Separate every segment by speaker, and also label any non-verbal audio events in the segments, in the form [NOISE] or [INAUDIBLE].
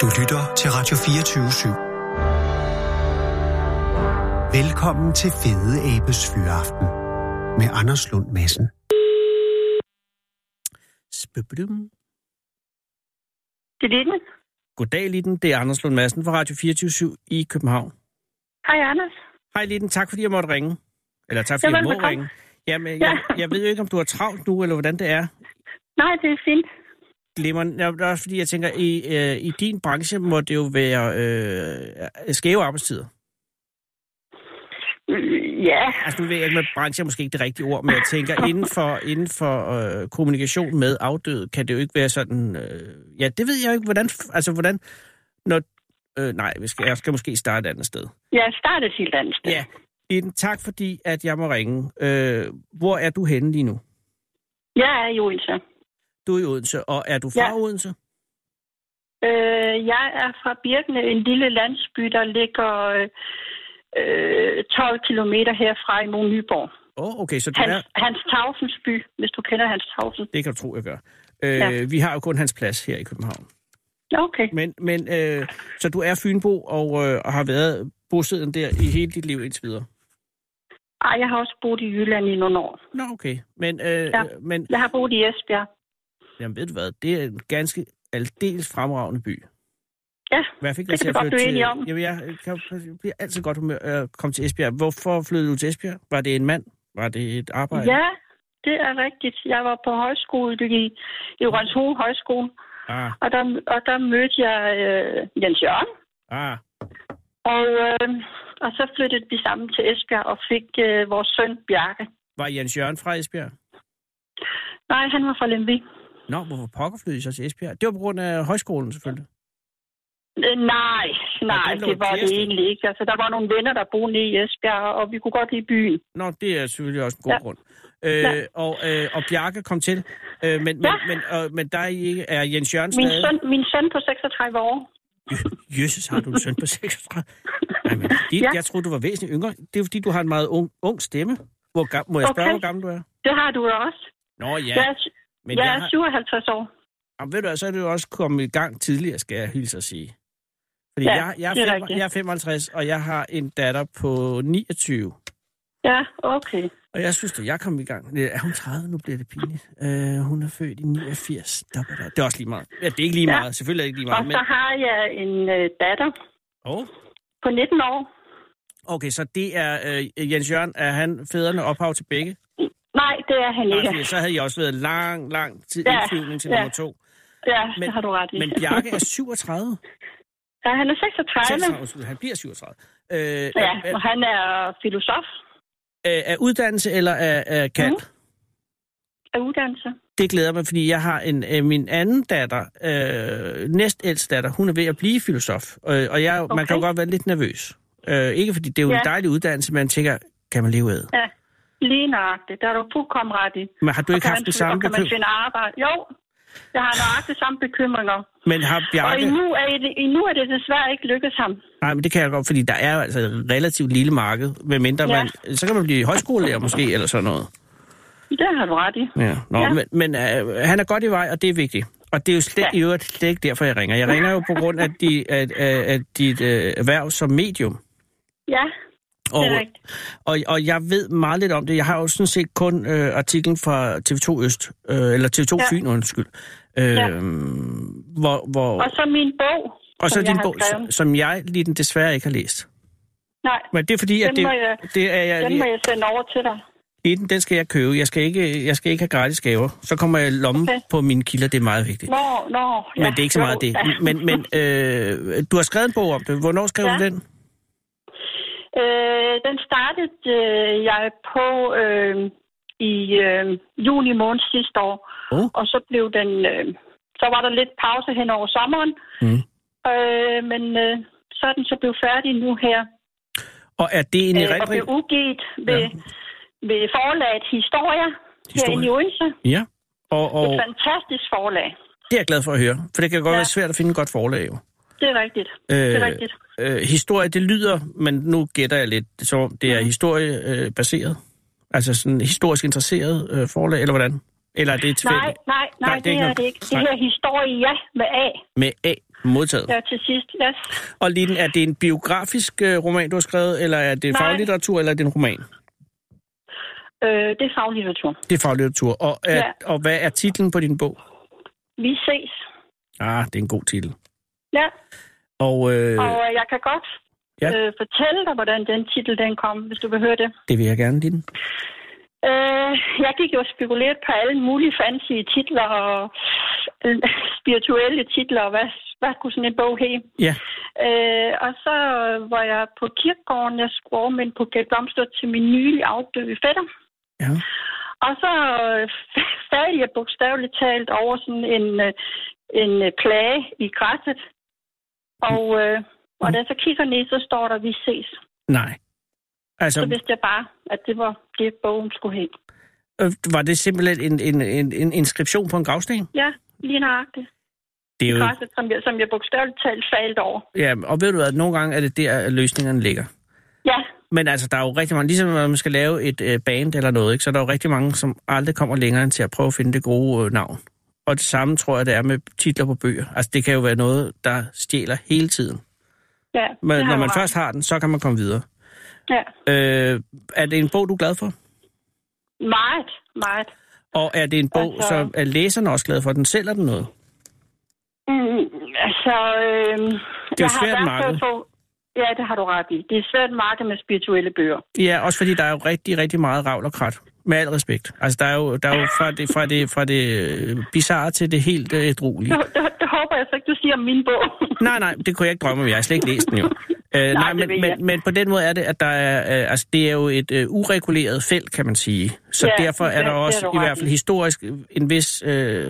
Speaker 1: Du lytter til Radio 24 /7. Velkommen til Fede Abes Fyraften med Anders Lund Madsen.
Speaker 2: Spøbdum.
Speaker 3: Det er Litten.
Speaker 2: Goddag, Litten. Det er Anders Lund Madsen fra Radio 24 i København.
Speaker 3: Hej, Anders.
Speaker 2: Hej, Litten. Tak, fordi jeg måtte ringe. Eller tak, fordi jeg, jeg må velkommen. ringe. Jamen, jeg, ja. jeg ved jo ikke, om du er travlt nu, eller hvordan det er.
Speaker 3: Nej, det er fint.
Speaker 2: Glimrende. Ja, det er også fordi, jeg tænker, i, øh, i din branche må det jo være øh, skæve arbejdstider.
Speaker 3: Mm, Ja.
Speaker 2: Altså, nu ved jeg ikke, med branche er måske ikke det rigtige ord, men jeg [LAUGHS] tænker, inden for, inden for øh, kommunikation med afdøde, kan det jo ikke være sådan... Øh, ja, det ved jeg jo ikke, hvordan... Altså, hvordan... Når, øh, nej, vi skal, jeg skal måske starte et andet sted.
Speaker 3: Ja, starte et helt andet sted.
Speaker 2: Ja. Liden, tak fordi, at jeg må ringe. Øh, hvor er du henne lige nu?
Speaker 3: Jeg er i Odense.
Speaker 2: Du er i Odense, og er du fra ja. Odense?
Speaker 3: Øh, jeg er fra Birkene, en lille landsby, der ligger øh, 12 kilometer herfra i Mon Nyborg.
Speaker 2: Åh, oh, okay, så du
Speaker 3: Hans,
Speaker 2: er...
Speaker 3: Hans Tausens by, hvis du kender Hans Tausen.
Speaker 2: Det kan du tro, jeg gør. Øh, ja. Vi har jo kun hans plads her i København.
Speaker 3: Okay.
Speaker 2: Men, men øh, så du er Fynbo og, øh, og har været bosiddende der i hele dit liv indtil videre?
Speaker 3: Ej, jeg har også boet i Jylland i nogle år.
Speaker 2: Nå, okay. Men, øh,
Speaker 3: ja.
Speaker 2: men...
Speaker 3: Jeg har boet i Esbjerg.
Speaker 2: Jamen ved du hvad, det er en ganske aldeles fremragende by.
Speaker 3: Ja,
Speaker 2: hvad fik
Speaker 3: det kan godt blive enige om.
Speaker 2: Jamen, jeg, kan, jeg bliver altid godt humør at komme til Esbjerg. Hvorfor flyttede du til Esbjerg? Var det en mand? Var det et arbejde?
Speaker 3: Ja, det er rigtigt. Jeg var på højskole i, i Rønshoved Højskole.
Speaker 2: Ah.
Speaker 3: Og, der, og der mødte jeg øh, Jens Jørgen.
Speaker 2: Ah.
Speaker 3: Og, øh, og så flyttede vi sammen til Esbjerg og fik øh, vores søn Bjarke.
Speaker 2: Var Jens Jørgen fra Esbjerg?
Speaker 3: Nej, han var fra Lemvig.
Speaker 2: Nå, hvorfor pokker flyttede I så til Esbjerg? Det var på grund af højskolen selvfølgelig.
Speaker 3: Øh, nej, nej, det, det var det egentlig ikke. Altså, der var nogle venner, der boede nede i Esbjerg, og vi kunne godt lide byen.
Speaker 2: Nå, det er selvfølgelig også en god ja. grund. Øh, ja. og, øh, og Bjarke kom til, øh, men, ja. men, men, øh, men der er, I, er Jens Jørgen
Speaker 3: min stadig... Søn, min søn på 36 år.
Speaker 2: Jøsses, har du en søn på 36? Jamen, dit, ja. jeg troede, du var væsentligt yngre. Det er fordi, du har en meget ung, ung stemme. Hvor, gammel, må jeg spørge, okay. hvor gammel du er?
Speaker 3: Det har du også.
Speaker 2: Nå ja.
Speaker 3: Jeg er, men jeg, jeg er har... 57 år.
Speaker 2: Jamen, ved du, så er det jo også kommet i gang tidligere, skal jeg hilse at sige. Fordi ja, jeg, jeg, er fem, jeg er 55, og jeg har en datter på 29.
Speaker 3: Ja, okay.
Speaker 2: Og jeg synes, at jeg kom i gang. Øh, Er hun 30? Nu bliver det pinligt. Uh, hun er født i 89. Der, der, der. Det er også lige meget. Ja, det er ikke lige ja. meget. Selvfølgelig er det ikke lige meget.
Speaker 3: Og men... så har jeg en øh, datter
Speaker 2: oh.
Speaker 3: på 19 år.
Speaker 2: Okay, så det er øh, Jens Jørgen. Er han fædrene ophav til begge?
Speaker 3: Nej, det er han ikke. Nej,
Speaker 2: så havde jeg også været lang, lang tid ja, indflyvning til ja. nummer to.
Speaker 3: Ja, men, det har du ret i.
Speaker 2: Men Bjarke er 37.
Speaker 3: Ja, han er 36.
Speaker 2: 36 han bliver 37. Øh, ja,
Speaker 3: er, og han er filosof.
Speaker 2: Af uddannelse eller af, af kant? Mm.
Speaker 3: Af uddannelse.
Speaker 2: Det glæder mig, fordi jeg har en øh, min anden datter, øh, næstældste datter, hun er ved at blive filosof. Øh, og jeg, okay. man kan jo godt være lidt nervøs. Øh, ikke fordi det er jo ja. en dejlig uddannelse, man tænker, kan man leve af?
Speaker 3: Ja. Lige nøjagtigt. Der er du fuldkommen ret i.
Speaker 2: Men har du ikke haft
Speaker 3: man,
Speaker 2: det samme
Speaker 3: bekymring? Kan man finde arbejde? Jo, jeg har nøjagtigt samme bekymringer.
Speaker 2: Men har Bjarke...
Speaker 3: Og endnu er, det, endnu er det desværre ikke lykkedes ham.
Speaker 2: Nej, men det kan jeg godt, fordi der er altså et relativt lille marked, medmindre ja. man... Så kan man blive højskolelærer måske, eller sådan noget.
Speaker 3: Det har du ret i.
Speaker 2: Ja, Nå, ja. men, men øh, han er godt i vej, og det er vigtigt. Og det er jo slet, ja. i øvrigt slet ikke derfor, jeg ringer. Jeg ringer jo på grund af, de, af, af, af dit øh, erhverv som medium.
Speaker 3: Ja.
Speaker 2: Og, og, og jeg ved meget lidt om det. Jeg har jo sådan set kun øh, artiklen fra TV2 Øst, øh, eller TV2 ja. Fyn, undskyld. Øh, ja. hvor, hvor,
Speaker 3: og så min bog.
Speaker 2: Og så din bog, som, som jeg lige den desværre ikke har læst.
Speaker 3: Nej,
Speaker 2: Men det er fordi, at
Speaker 3: den,
Speaker 2: det,
Speaker 3: må jeg,
Speaker 2: det er
Speaker 3: jeg, den må jeg sende over til dig.
Speaker 2: Den, den skal jeg købe. Jeg skal ikke, jeg skal ikke have gratis gaver. Så kommer jeg lomme okay. på mine kilder. Det er meget vigtigt.
Speaker 3: Nå, nå.
Speaker 2: Ja, men det er ikke så meget [LAUGHS] jo, det. Ja. Men, men øh, du har skrevet en bog om det. Hvornår skrev ja. du den?
Speaker 3: Øh, den startede øh, jeg på øh, i øh, juni måned sidste år,
Speaker 2: oh.
Speaker 3: og så blev den, øh, så var der lidt pause hen over sommeren,
Speaker 2: mm.
Speaker 3: øh, men øh, så er den så blevet færdig nu her.
Speaker 2: Og er det en erindring? Øh, og
Speaker 3: blev udgivet ved, ja. ved forlaget Historia, Historia. herinde i Odense.
Speaker 2: Ja. Og, og...
Speaker 3: Et fantastisk forlag.
Speaker 2: Det er jeg glad for at høre, for det kan godt ja. være svært at finde et godt forlag jo.
Speaker 3: Det er rigtigt. Øh, det er rigtigt.
Speaker 2: Øh, historie, det lyder, men nu gætter jeg lidt, så det er mm. historiebaseret? Altså sådan historisk interesseret øh, forlag, eller hvordan? Eller er det
Speaker 3: tilfældigt? Nej, nej, nej, nej det, det er, ikke er det ikke. Det her historie, ja, med A.
Speaker 2: Med A, Modtaget.
Speaker 3: Ja, til sidst, yes.
Speaker 2: Og Liden, er det en biografisk øh, roman, du har skrevet, eller er det
Speaker 3: Nej.
Speaker 2: faglitteratur, eller er det en roman?
Speaker 3: Øh, det er faglitteratur.
Speaker 2: Det er faglitteratur. Og, er,
Speaker 3: Ja.
Speaker 2: og hvad er titlen på din bog?
Speaker 3: Vi ses.
Speaker 2: Ah, det er en god titel.
Speaker 3: Ja,
Speaker 2: Og øh,
Speaker 3: og øh, jeg kan godt
Speaker 2: ja.
Speaker 3: ja. øh, fortælle dig, hvordan den titel den kom, hvis du vil høre det.
Speaker 2: det vil jeg gerne, Liden.
Speaker 3: Øh, jeg gik jo spekuleret på alle mulige fancy titler og øh, spirituelle titler, og hvad, hvad kunne sådan en bog hedde?
Speaker 2: Ja.
Speaker 3: Øh, og så øh, var jeg på kirkegården, jeg skulle overmænde på Gæt Blomster til min nylig afdøde fætter.
Speaker 2: Ja.
Speaker 3: Og så øh, [LAUGHS] faldt jeg bogstaveligt talt over sådan en, øh, en øh, plage i græsset. Og, øh, og da jeg så kigger ned, så står der, vi ses.
Speaker 2: Nej. Altså,
Speaker 3: Så vidste jeg bare, at det var det, bogen skulle have.
Speaker 2: øh, var det simpelthen en, en, en, en inskription på en gravsten?
Speaker 3: Ja, lige nøjagtigt.
Speaker 2: Det er jo...
Speaker 3: Græsset, som jeg, som jeg bogstaveligt talt faldt over.
Speaker 2: Ja, og ved du hvad, nogle gange er det der, at løsningerne ligger.
Speaker 3: Ja,
Speaker 2: Men altså, der er jo rigtig mange, ligesom når man skal lave et øh, band eller noget, ikke, så er der jo rigtig mange, som aldrig kommer længere end til at prøve at finde det gode øh, navn. Og det samme tror jeg, det er med titler på bøger. Altså, det kan jo være noget, der stjæler hele tiden.
Speaker 3: ja. det
Speaker 2: Men
Speaker 3: har
Speaker 2: når
Speaker 3: du
Speaker 2: man
Speaker 3: ret.
Speaker 2: først har den, så kan man komme videre.
Speaker 3: Ja,
Speaker 2: Øh, er det en bog, du er glad for?
Speaker 3: meget, meget.
Speaker 2: Og er det en bog,
Speaker 3: Altså-
Speaker 2: altså... som er læserne også glad for? Den sælger den noget?
Speaker 3: Mm, altså, øh,
Speaker 2: Det er jo svært marked.
Speaker 3: På, ja, det har du ret i. Det er et svært marked med spirituelle bøger.
Speaker 2: Ja, også fordi der er jo rigtig, rigtig meget ravl og krat. Med al respekt. Altså, der er jo, der er jo fra, det, fra, det, fra det øh, bizarre til det helt øh, ædruelige.
Speaker 3: Det, det, det håber jeg så ikke, du siger om min bog. [LAUGHS]
Speaker 2: Nej, nej, det kunne jeg ikke drømme om. Jeg har slet ikke læst den jo. Øh, nej,
Speaker 3: det
Speaker 2: men,
Speaker 3: ved jeg.
Speaker 2: men, men på den måde er det, at der er, øh, altså, det er jo et øh, ureguleret felt, kan man sige. Så
Speaker 3: Ja,
Speaker 2: derfor er
Speaker 3: ja,
Speaker 2: der
Speaker 3: det er
Speaker 2: også
Speaker 3: du
Speaker 2: i
Speaker 3: ret
Speaker 2: hvert fald
Speaker 3: i.
Speaker 2: historisk en vis, øh,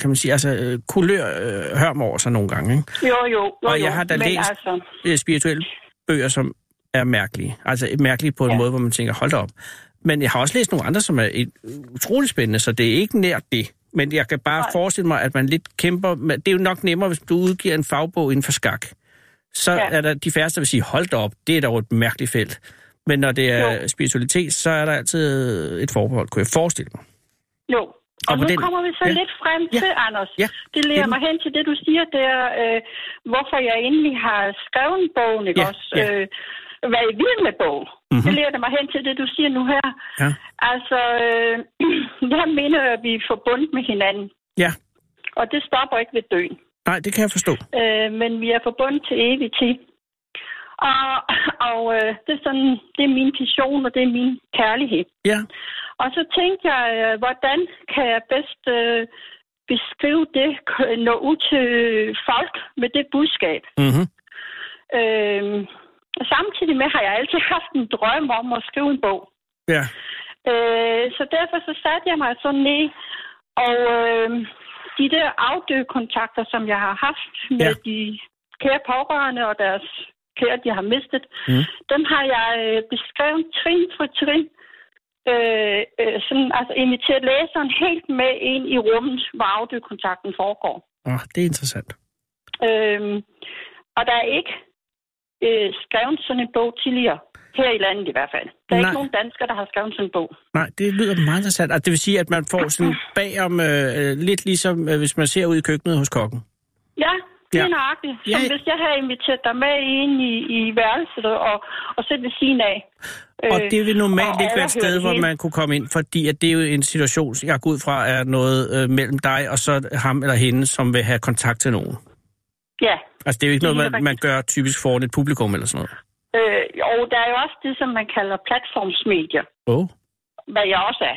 Speaker 2: kan man sige, altså øh, kulør øh, hørm over sig nogle gange. Ikke?
Speaker 3: Jo, jo, jo.
Speaker 2: Og
Speaker 3: jo.
Speaker 2: jeg har da
Speaker 3: Men
Speaker 2: læst-
Speaker 3: Altså,
Speaker 2: Øh, Spirituelle bøger, som er mærkelige. Altså mærkelige på en ja.
Speaker 3: Ja.
Speaker 2: måde, hvor man tænker, hold da op. Men jeg har også læst nogle andre, som er et, utrolig spændende, så det er ikke nært det. Men jeg kan bare
Speaker 3: Nej.
Speaker 2: forestille mig, at man lidt kæmper. Med, det er jo nok nemmere, hvis du udgiver en fagbog inden for skak. Så ja.
Speaker 3: Ja.
Speaker 2: er der de færreste, der vil sige, hold da op, det er dog et mærkeligt felt. Men når det er jo.
Speaker 3: Jo.
Speaker 2: spiritualitet, så er der altid et forbehold, kunne jeg forestille mig.
Speaker 3: jo. Og,
Speaker 2: Og
Speaker 3: og
Speaker 2: på
Speaker 3: nu
Speaker 2: den-
Speaker 3: den... kommer vi så
Speaker 2: ja.
Speaker 3: ja. lidt frem
Speaker 2: Ja.
Speaker 3: til, Anders.
Speaker 2: Ja.
Speaker 3: Det leder
Speaker 2: Det-
Speaker 3: mig hen til det, du siger der, øh, hvorfor jeg endelig har skrevet bogen, ikke
Speaker 2: Ja,
Speaker 3: også?
Speaker 2: ja.
Speaker 3: Øh, hvad jeg vil med bogen.
Speaker 2: Mhm.
Speaker 3: Mm-hmm. Det leder det mig hen til det, du siger nu her.
Speaker 2: Ja.
Speaker 3: Altså, øh, [CLEARS THROAT] jeg mener, at vi er forbundet med hinanden.
Speaker 2: ja.
Speaker 3: Og det stopper ikke ved døden.
Speaker 2: Nej, det kan jeg forstå.
Speaker 3: øh, men vi er forbundet til evigt tid. Og, og øh, det, er sådan, det er min passion, og det er min kærlighed.
Speaker 2: Ja,
Speaker 3: Og så tænkte jeg, øh, hvordan kan jeg bedst øh, beskrive det, k- nå ud til folk med det budskab.
Speaker 2: mm-hmm.
Speaker 3: Øh, og samtidig med har jeg altid haft en drøm om at skrive en bog.
Speaker 2: ja.
Speaker 3: Øh, så derfor så satte jeg mig sådan ned, og øh, de der afdøde kontakter, som jeg har haft med
Speaker 2: Ja.
Speaker 3: ja. de kære pårørende og deres kære, de har mistet,
Speaker 2: Mhm.
Speaker 3: mm. dem har jeg øh, beskrevet trin for trin. Øh, øh, sådan, altså inviteret læseren helt med ind i rummet, hvor afdødekontakten foregår.
Speaker 2: Oh, det er interessant.
Speaker 3: Øhm, og der er ikke øh, skrevet sådan en bog tidligere. Her i landet i hvert fald. Der
Speaker 2: Nej.
Speaker 3: er ikke nogen danskere, der har skrevet sådan en bog.
Speaker 2: Nej, det lyder meget interessant. Altså, det vil sige, at man får sådan bagom, øh, øh, lidt ligesom øh, hvis man ser ud i køkkenet hos kokken.
Speaker 3: Ja, det
Speaker 2: Ja.
Speaker 3: er nøjagtigt. Som
Speaker 2: Ja.
Speaker 3: hvis jeg havde inviteret dig med ind i, i værelset og, og sætte ved siden af.
Speaker 2: Og
Speaker 3: Øh,
Speaker 2: det vil normalt
Speaker 3: og
Speaker 2: ikke være et
Speaker 3: overhøre
Speaker 2: sted,
Speaker 3: det
Speaker 2: hvor
Speaker 3: hele.
Speaker 2: man kunne komme ind, fordi at det er jo en situation, jeg går ud fra, er noget øh, mellem dig og så ham eller hende, som vil have kontakt til nogen.
Speaker 3: Ja.
Speaker 2: Altså, det er jo ikke
Speaker 3: Det er
Speaker 2: noget,
Speaker 3: helt
Speaker 2: man, man gør typisk foran et publikum eller sådan noget.
Speaker 3: Øh, og der er jo også det, som man kalder platformsmedier,
Speaker 2: Oh.
Speaker 3: hvad jeg også er.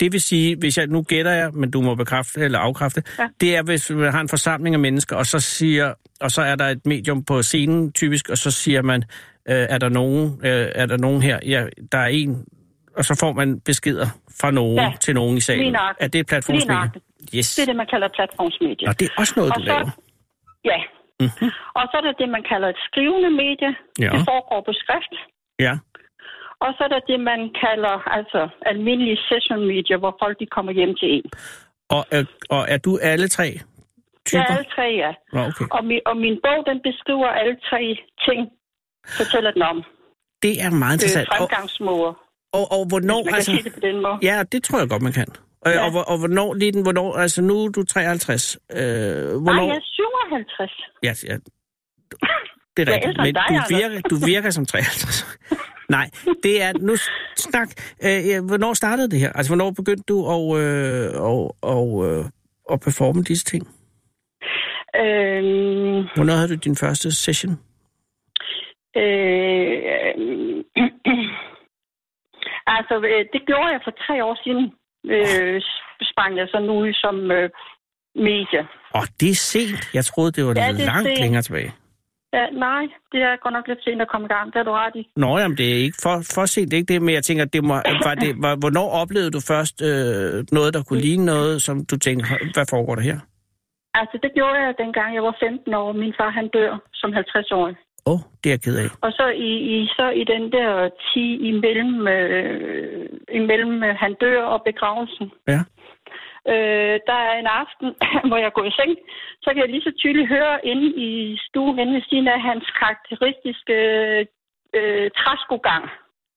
Speaker 2: Det vil sige, hvis jeg nu gætter jeg, men du må bekræfte eller afkræfte, ja.
Speaker 3: Ja.
Speaker 2: det er, hvis man har en forsamling af mennesker, og så siger, og så er der et medium på scenen typisk, og så siger man, øh, er der nogen, øh, er der nogen her? Ja, der er en, og så får man beskeder fra nogen ja.
Speaker 3: Ja.
Speaker 2: til nogen i
Speaker 3: Lige
Speaker 2: salen.
Speaker 3: nøjagtigt.
Speaker 2: Er det et
Speaker 3: Lige
Speaker 2: platformsmedie?
Speaker 3: nøjagtigt.
Speaker 2: Yes.
Speaker 3: Det er det, man kalder platformsmedier.
Speaker 2: Nå, det er også noget,
Speaker 3: Og
Speaker 2: du
Speaker 3: så-
Speaker 2: laver.
Speaker 3: Ja.
Speaker 2: Mhm.
Speaker 3: Og så er der det, man kalder et skrivende medie.
Speaker 2: Ja.
Speaker 3: Det foregår på skrift.
Speaker 2: Ja.
Speaker 3: Og så er der det, man kalder altså almindelige session medier, hvor folk de kommer hjem til en.
Speaker 2: Og, øh, og er du alle tre
Speaker 3: Det er
Speaker 2: typer?
Speaker 3: alle tre, ja.
Speaker 2: Nå, okay.
Speaker 3: Og min, og min bog, den beskriver alle tre ting, fortæller den om.
Speaker 2: Det er meget
Speaker 3: øh,
Speaker 2: interessant. Og,
Speaker 3: fremgangsmåder,
Speaker 2: og, og
Speaker 3: hvis
Speaker 2: hvornår... altså-
Speaker 3: man kan sige det på den måde.
Speaker 2: Ja, det tror jeg godt, man kan. Ja.
Speaker 3: Ja.
Speaker 2: Og, hvor- og hvornår, lige den, hvornår, altså nu er du 53. Øh,
Speaker 3: Ah,
Speaker 2: hvornår?
Speaker 3: Nej, jeg er 57.
Speaker 2: Ja, ja. Det er
Speaker 3: Jeg
Speaker 2: rigtigt,
Speaker 3: elsker
Speaker 2: men
Speaker 3: dig,
Speaker 2: du
Speaker 3: Jacob.
Speaker 2: virker, du virker som
Speaker 3: [LAUGHS]
Speaker 2: 53. Nej, det er... Nu s- snak. Øh, ja, hvornår startede det her? Altså, hvornår begyndte du at, øh, og, og, øh, at performe disse ting?
Speaker 3: Øhm,
Speaker 2: Hvornår havde du din første session?
Speaker 3: øh, [CLEARS THROAT] øh, altså, øh, det gjorde jeg for tre år siden. Øh, sprang jeg så nu ud som øh, medie.
Speaker 2: Åh, det er sent. Jeg troede, det var
Speaker 3: Ja,
Speaker 2: ja,
Speaker 3: det er
Speaker 2: langt
Speaker 3: sent.
Speaker 2: længere tilbage.
Speaker 3: Ja, nej, det er godt nok lidt sent at komme i gang. Det har du ret i.
Speaker 2: Nå, jamen, det er ikke for, for sent, det er ikke det, men jeg tænker, det må, var det, var, hvornår oplevede du først øh, noget, der kunne ligne noget, som du tænkte, "Hå, hvad foregår der her?
Speaker 3: Altså, det gjorde jeg dengang jeg var 15 år. Min far, han dør som 50-årig.
Speaker 2: Åh, oh, det er jeg ked af.
Speaker 3: Og så i, i, så i den der 10 imellem, øh, imellem øh, han dør og begravelsen,
Speaker 2: Ja.
Speaker 3: øh, der er en aften, [COUGHS] hvor jeg går i seng, så kan jeg lige så tydeligt høre inde i stuen, inde ved siden af hans karakteristiske øh, træskogang.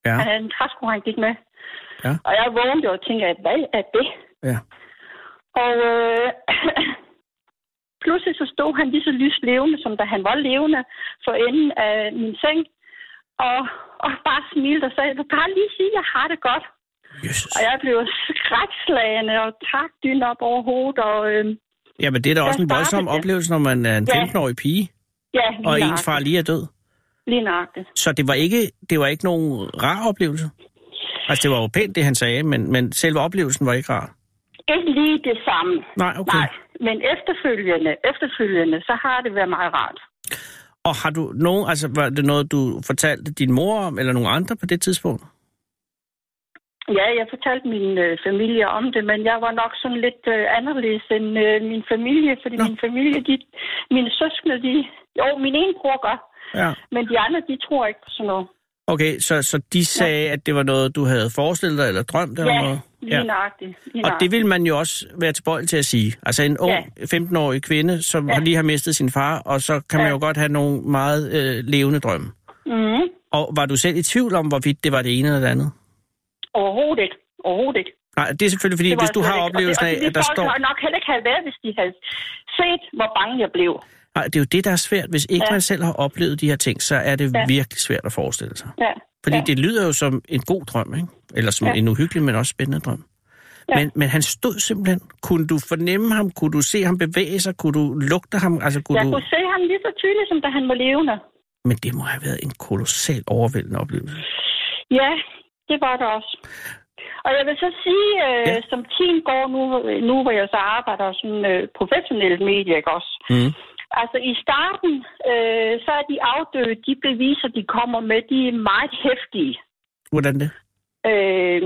Speaker 2: Ja.
Speaker 3: Han havde en træsko, han gik med.
Speaker 2: Ja.
Speaker 3: Og jeg vågnede jo og tænkte, at hvad er det?
Speaker 2: Ja.
Speaker 3: Og øh, [COUGHS] pludselig så stod han lige så lyst levende, som da han var levende, for enden af min seng. Og, og bare smilte og sagde, du kan bare lige sige, at jeg har det godt.
Speaker 2: Jesus.
Speaker 3: Og jeg blev skrækslagende og trak dynen op over hovedet. Og, øh,
Speaker 2: Jamen, det er da også en
Speaker 3: Jeg
Speaker 2: voldsom
Speaker 3: startede det.
Speaker 2: oplevelse, når man er en
Speaker 3: Ja.
Speaker 2: 15-årig pige,
Speaker 3: ja,
Speaker 2: og
Speaker 3: lige
Speaker 2: ens
Speaker 3: nøjagtigt.
Speaker 2: far lige er død.
Speaker 3: Lige nøjagtigt.
Speaker 2: Så det var ikke, det var ikke nogen rar oplevelse. Altså, det var jo pænt, det han sagde, men, men selve oplevelsen var ikke rar.
Speaker 3: Ikke lige det samme.
Speaker 2: Nej, okay.
Speaker 3: Nej, men efterfølgende, efterfølgende, så har det været meget rart.
Speaker 2: Og har du nogen, altså, var det noget, du fortalte din mor om, eller nogen andre på det tidspunkt?
Speaker 3: Ja, jeg fortalte min øh, familie om det, men jeg var nok sådan lidt øh, anderledes end øh, min familie, fordi
Speaker 2: Nå.
Speaker 3: Nå. min familie, de, mine søskende, de, jo, min ene bror gør,
Speaker 2: Ja.
Speaker 3: men de andre, de tror ikke på sådan noget.
Speaker 2: Okay, så, så de sagde, ja. at det var noget, du havde forestillet dig, eller drømt, eller noget?
Speaker 3: lige ja. nøjagtigt. Lige
Speaker 2: Og det
Speaker 3: nøjagtigt.
Speaker 2: vil man jo også være tilbøjelig til at sige. Altså en ung, ja. 15-årig kvinde, som ja. lige har mistet sin far, og så kan man
Speaker 3: Ja.
Speaker 2: jo godt have nogle meget øh, levende drømme.
Speaker 3: Mm-hmm.
Speaker 2: Og var du selv i tvivl om, hvorvidt det var det ene eller det andet?
Speaker 3: Overhovedet ikke. Overhovedet ikke.
Speaker 2: Nej, det er selvfølgelig fordi,
Speaker 3: Det var
Speaker 2: hvis du
Speaker 3: jeg
Speaker 2: har
Speaker 3: slet ikke.
Speaker 2: oplevelsen
Speaker 3: og
Speaker 2: af,
Speaker 3: det, og det,
Speaker 2: at der
Speaker 3: folk
Speaker 2: står...
Speaker 3: har nok heller ikke have været, hvis de havde set, hvor bange jeg blev.
Speaker 2: Nej, det er jo det, der er svært. Hvis ikke
Speaker 3: Ja.
Speaker 2: man selv har oplevet de her ting, så er det
Speaker 3: Ja.
Speaker 2: virkelig svært at forestille sig.
Speaker 3: Ja.
Speaker 2: Fordi
Speaker 3: ja.
Speaker 2: det lyder jo som en god drøm, ikke? Eller som
Speaker 3: Ja.
Speaker 2: en uhyggelig, men også spændende drøm.
Speaker 3: Ja.
Speaker 2: Men, men han stod simpelthen. Kunne du fornemme ham? Kunne du se ham bevæge sig? Kunne du lugte ham? Altså, kunne
Speaker 3: jeg
Speaker 2: du...
Speaker 3: kunne se ham lige så tydeligt, som da han var levende.
Speaker 2: Men det må have været en kolossal overvældende oplevelse.
Speaker 3: Ja, det var det også. Og jeg vil så sige, øh,
Speaker 2: Ja.
Speaker 3: ja. som tiden går nu, nu hvor jeg så arbejder som øh, professionel medie, ikke også?
Speaker 2: Mm.
Speaker 3: Altså i starten, øh, så er de afdøde, de beviser, de kommer med, de er meget hæftige.
Speaker 2: Hvordan det?
Speaker 3: Øh,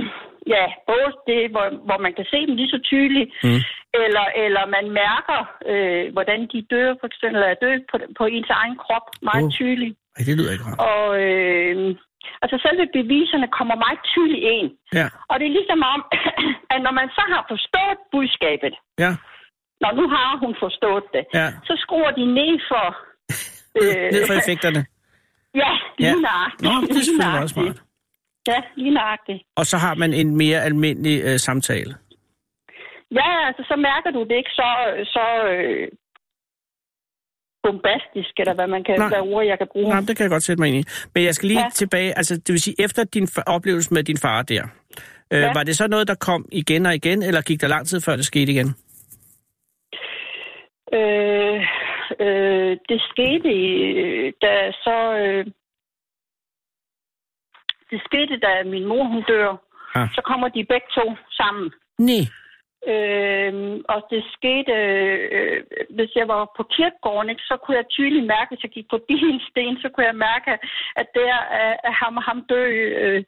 Speaker 3: [CLEARS THROAT] ja, både det, hvor, hvor man kan se dem lige så tydeligt,
Speaker 2: Mm.
Speaker 3: eller, eller man mærker, øh, hvordan de dør, for eksempel, eller er døde på, på ens egen krop meget
Speaker 2: Uh.
Speaker 3: uh. tydeligt.
Speaker 2: Ej, det lyder ikke rart.
Speaker 3: Og øh, altså selve beviserne kommer meget tydeligt ind.
Speaker 2: Ja,
Speaker 3: Og det er ligesom om, [CLEARS THROAT] at når man så har forstået budskabet,
Speaker 2: ja,
Speaker 3: når nu har hun forstået det,
Speaker 2: ja.
Speaker 3: så skruer de ned for...
Speaker 2: [LAUGHS]
Speaker 3: Øh.
Speaker 2: Ned for effekterne.
Speaker 3: [LAUGHS] ja, lige
Speaker 2: Ja.
Speaker 3: nøjagtigt.
Speaker 2: Nå, det er
Speaker 3: [LAUGHS] Lige
Speaker 2: selvfølgelig også
Speaker 3: nøjagtigt.
Speaker 2: smart.
Speaker 3: Ja, lige nøjagtigt.
Speaker 2: Og så har man en mere almindelig øh, samtale.
Speaker 3: Ja, altså, så mærker du det ikke så, så øh, bombastisk, eller hvad man kan,
Speaker 2: Nej.
Speaker 3: hvad ord jeg kan bruge.
Speaker 2: Nej, det kan jeg godt sætte mig ind i. Men jeg skal lige ja.
Speaker 3: Ja.
Speaker 2: tilbage, altså det vil sige, efter din fa- oplevelse med din far der, øh, ja.
Speaker 3: Ja.
Speaker 2: var det så noget, der kom igen og igen, eller gik der lang tid før det skete igen?
Speaker 3: Øh, øh, det skete, øh, da så... Øh, det skete, da min mor hun dør.
Speaker 2: Ah.
Speaker 3: Så kommer de begge to sammen.
Speaker 2: Nej.
Speaker 3: Øh, og det skete, øh, hvis jeg var på kirkegården, ikke, så kunne jeg tydeligt mærke, hvis jeg gik forbi en sten, så kunne jeg mærke, at der er- er ham og ham dø. Øh,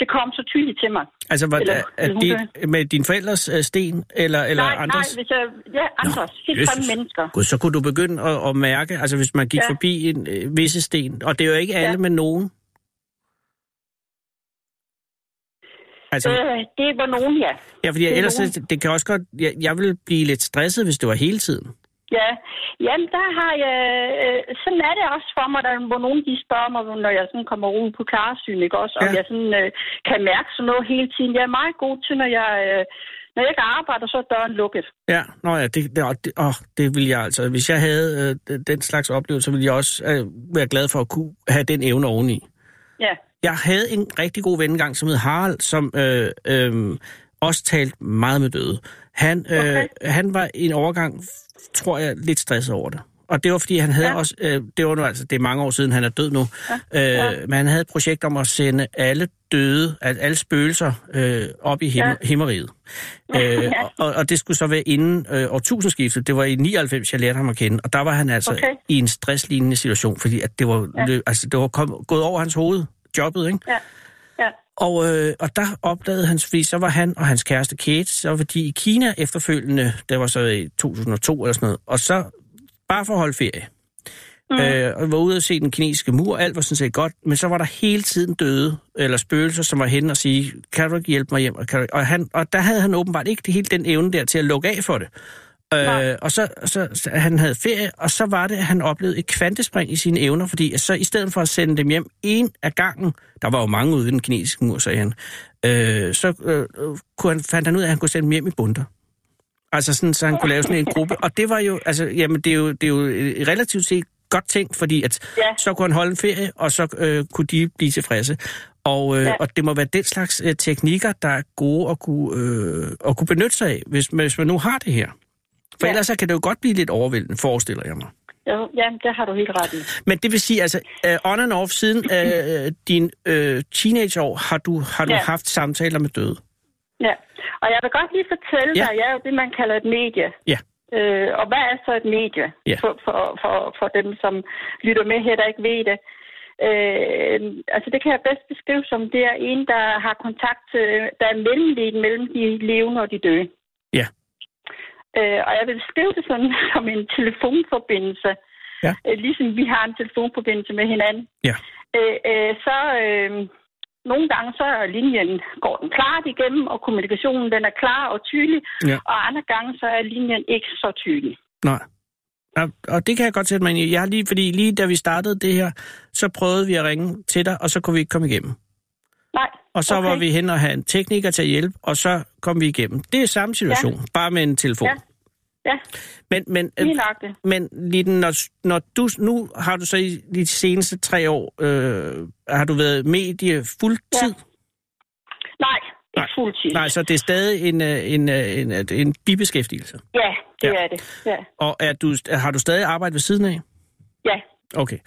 Speaker 3: det kom så tydeligt til mig.
Speaker 2: Altså var
Speaker 3: Eller-
Speaker 2: det,
Speaker 3: eller
Speaker 2: er
Speaker 3: hun
Speaker 2: det med din forældres øh, sten, eller, eller
Speaker 3: nej,
Speaker 2: andres?
Speaker 3: nej, hvis jeg, ja, andres. Helt
Speaker 2: Jesus.
Speaker 3: fremme mennesker.
Speaker 2: Gud, så kunne du begynde at, at mærke, altså hvis man gik ja.
Speaker 3: Ja.
Speaker 2: forbi en øh, visse sten, og det er jo ikke alle, ja.
Speaker 3: Ja.
Speaker 2: men nogen. Altså, øh,
Speaker 3: Øh, det var nogen, ja.
Speaker 2: ja, fordi
Speaker 3: det er
Speaker 2: ellers,
Speaker 3: nogen.
Speaker 2: det, det kan også godt, jeg, jeg ville blive lidt stresset, hvis det var hele tiden.
Speaker 3: Ja, jamen der har jeg, øh, sådan er det også for mig, der, hvor nogen de spørger mig, når jeg sådan kommer ud på klarsyn, ikke også, om
Speaker 2: Ja.
Speaker 3: jeg sådan øh, kan mærke sådan noget hele tiden. Jeg er meget god til, når jeg, øh, Når jeg ikke arbejder, så er døren lukket.
Speaker 2: Ja, nå ja, det, det, åh, det, åh, det ville jeg altså. Hvis jeg havde øh, den- den slags oplevelse, ville jeg også øh, være glad for at kunne have den evne oveni.
Speaker 3: Ja,
Speaker 2: Jeg havde en rigtig god ven engang, som hed Harald, som øh, øh, også talte meget med døde. Han, øh,
Speaker 3: Okay.
Speaker 2: han var i en overgang, tror jeg, lidt stresset over det. Og det var, fordi han havde ja.
Speaker 3: Ja.
Speaker 2: også... Øh, det var nu altså... Det er mange år siden, han er død nu. Ja. Øh, men han havde et projekt om at sende alle døde, al- alle spøgelser øh, op i him- ja.
Speaker 3: Ja.
Speaker 2: himmeriget. Øh, og, og det skulle så være inden øh, årtusindskiftet. Det var i 99, jeg lærte ham at kende. Og der var han altså okay.
Speaker 3: Okay.
Speaker 2: i en stresslignende situation, fordi at det var, ja.
Speaker 3: Ja.
Speaker 2: lø, altså, det var kom, gået over hans hoved, jobbet, ikke?
Speaker 3: ja, ja.
Speaker 2: Og, øh, og der opdagede han, fordi så var han og hans kæreste Kate, så var de i Kina efterfølgende, det var så i 2002 eller sådan noget, og så bare for at holde ferie. Mm. Øh, og var ude og se den kinesiske mur, alt var sådan set godt, men så var der hele tiden døde, eller spøgelser, som var hen og sige, kan du ikke hjælpe mig hjem? Og, kan du... ikke?" og, han, og der havde han åbenbart ikke det- helt den evne der til at lukke af for det. Øh, og så, så, så han havde ferie, og så var det, at han oplevede et kvantespring i sine evner, fordi så i stedet for at sende dem hjem en af gangen, der var jo mange ude i den kinesiske mur, sagde han, øh, så øh, kunne han, fandt han ud af, at han kunne sende dem hjem i bunter. Altså sådan, så han kunne lave sådan en gruppe. Og det var jo, altså, jamen, det er jo, det er jo et relativt set godt ting, fordi at ja.
Speaker 3: Ja.
Speaker 2: så kunne han holde en ferie, og så øh, kunne de blive tilfredse. Og, øh, ja.
Speaker 3: Ja.
Speaker 2: og det må være den slags øh, teknikker, der er gode at kunne, øh, at kunne benytte sig af, hvis, hvis man nu har det her. For ja.
Speaker 3: Ja.
Speaker 2: ellers så kan det jo godt blive lidt overvældende, forestiller jeg mig.
Speaker 3: Jo, jamen, det har du helt ret i.
Speaker 2: Men det vil sige, altså, uh, on and off, siden uh, din uh, teenageår, har du, har du ja.
Speaker 3: Ja.
Speaker 2: haft samtaler med døde?
Speaker 3: Ja, og jeg vil godt lige fortælle
Speaker 2: Ja.
Speaker 3: ja. dig, at jeg er jo det, man kalder et medie.
Speaker 2: Ja.
Speaker 3: Øh, og hvad er så et medie
Speaker 2: Ja.
Speaker 3: for, for, for, for dem, som lytter med her, der ikke ved det? Øh, altså det kan jeg bedst beskrive som, det er en, der har kontakt, øh, der er mellemliggen mellem de levende og de døde.
Speaker 2: Ja.
Speaker 3: Øh, og jeg vil beskrive det sådan, [LAUGHS] som en telefonforbindelse.
Speaker 2: Ja.
Speaker 3: Øh, ligesom vi har en telefonforbindelse med hinanden.
Speaker 2: Ja.
Speaker 3: Øh, øh, så... Øh, nogle gange så er linjen, går den klart igennem, og kommunikationen den er klar og tydelig,
Speaker 2: Ja.
Speaker 3: og andre gange så er linjen ikke så tydelig.
Speaker 2: Nej. Og, og det kan jeg godt sætte mig ind i. Jeg har lige, fordi lige da vi startede det her, så prøvede vi at ringe til dig, og så kunne vi ikke komme igennem.
Speaker 3: Nej,
Speaker 2: Og så okay.
Speaker 3: Okay.
Speaker 2: var vi hen og havde en tekniker til at hjælpe, og så kom vi igennem. Det er samme situation, ja. bare med en telefon. Ja.
Speaker 3: Ja. ja,
Speaker 2: Men, men, øh,
Speaker 3: lige nok det.
Speaker 2: men Liden, når, når du, nu har du så i de seneste tre år, øh, har du været medie fuldtid? Ja.
Speaker 3: Nej,
Speaker 2: Nej,
Speaker 3: ikke fuldtid.
Speaker 2: Nej, så det er stadig en, øh, en, øh, en, en, en bibeskæftigelse.
Speaker 3: Ja, det
Speaker 2: Ja.
Speaker 3: ja. er det. Ja,
Speaker 2: Og er du, har du stadig arbejde ved siden af?
Speaker 3: ja.
Speaker 2: Okay.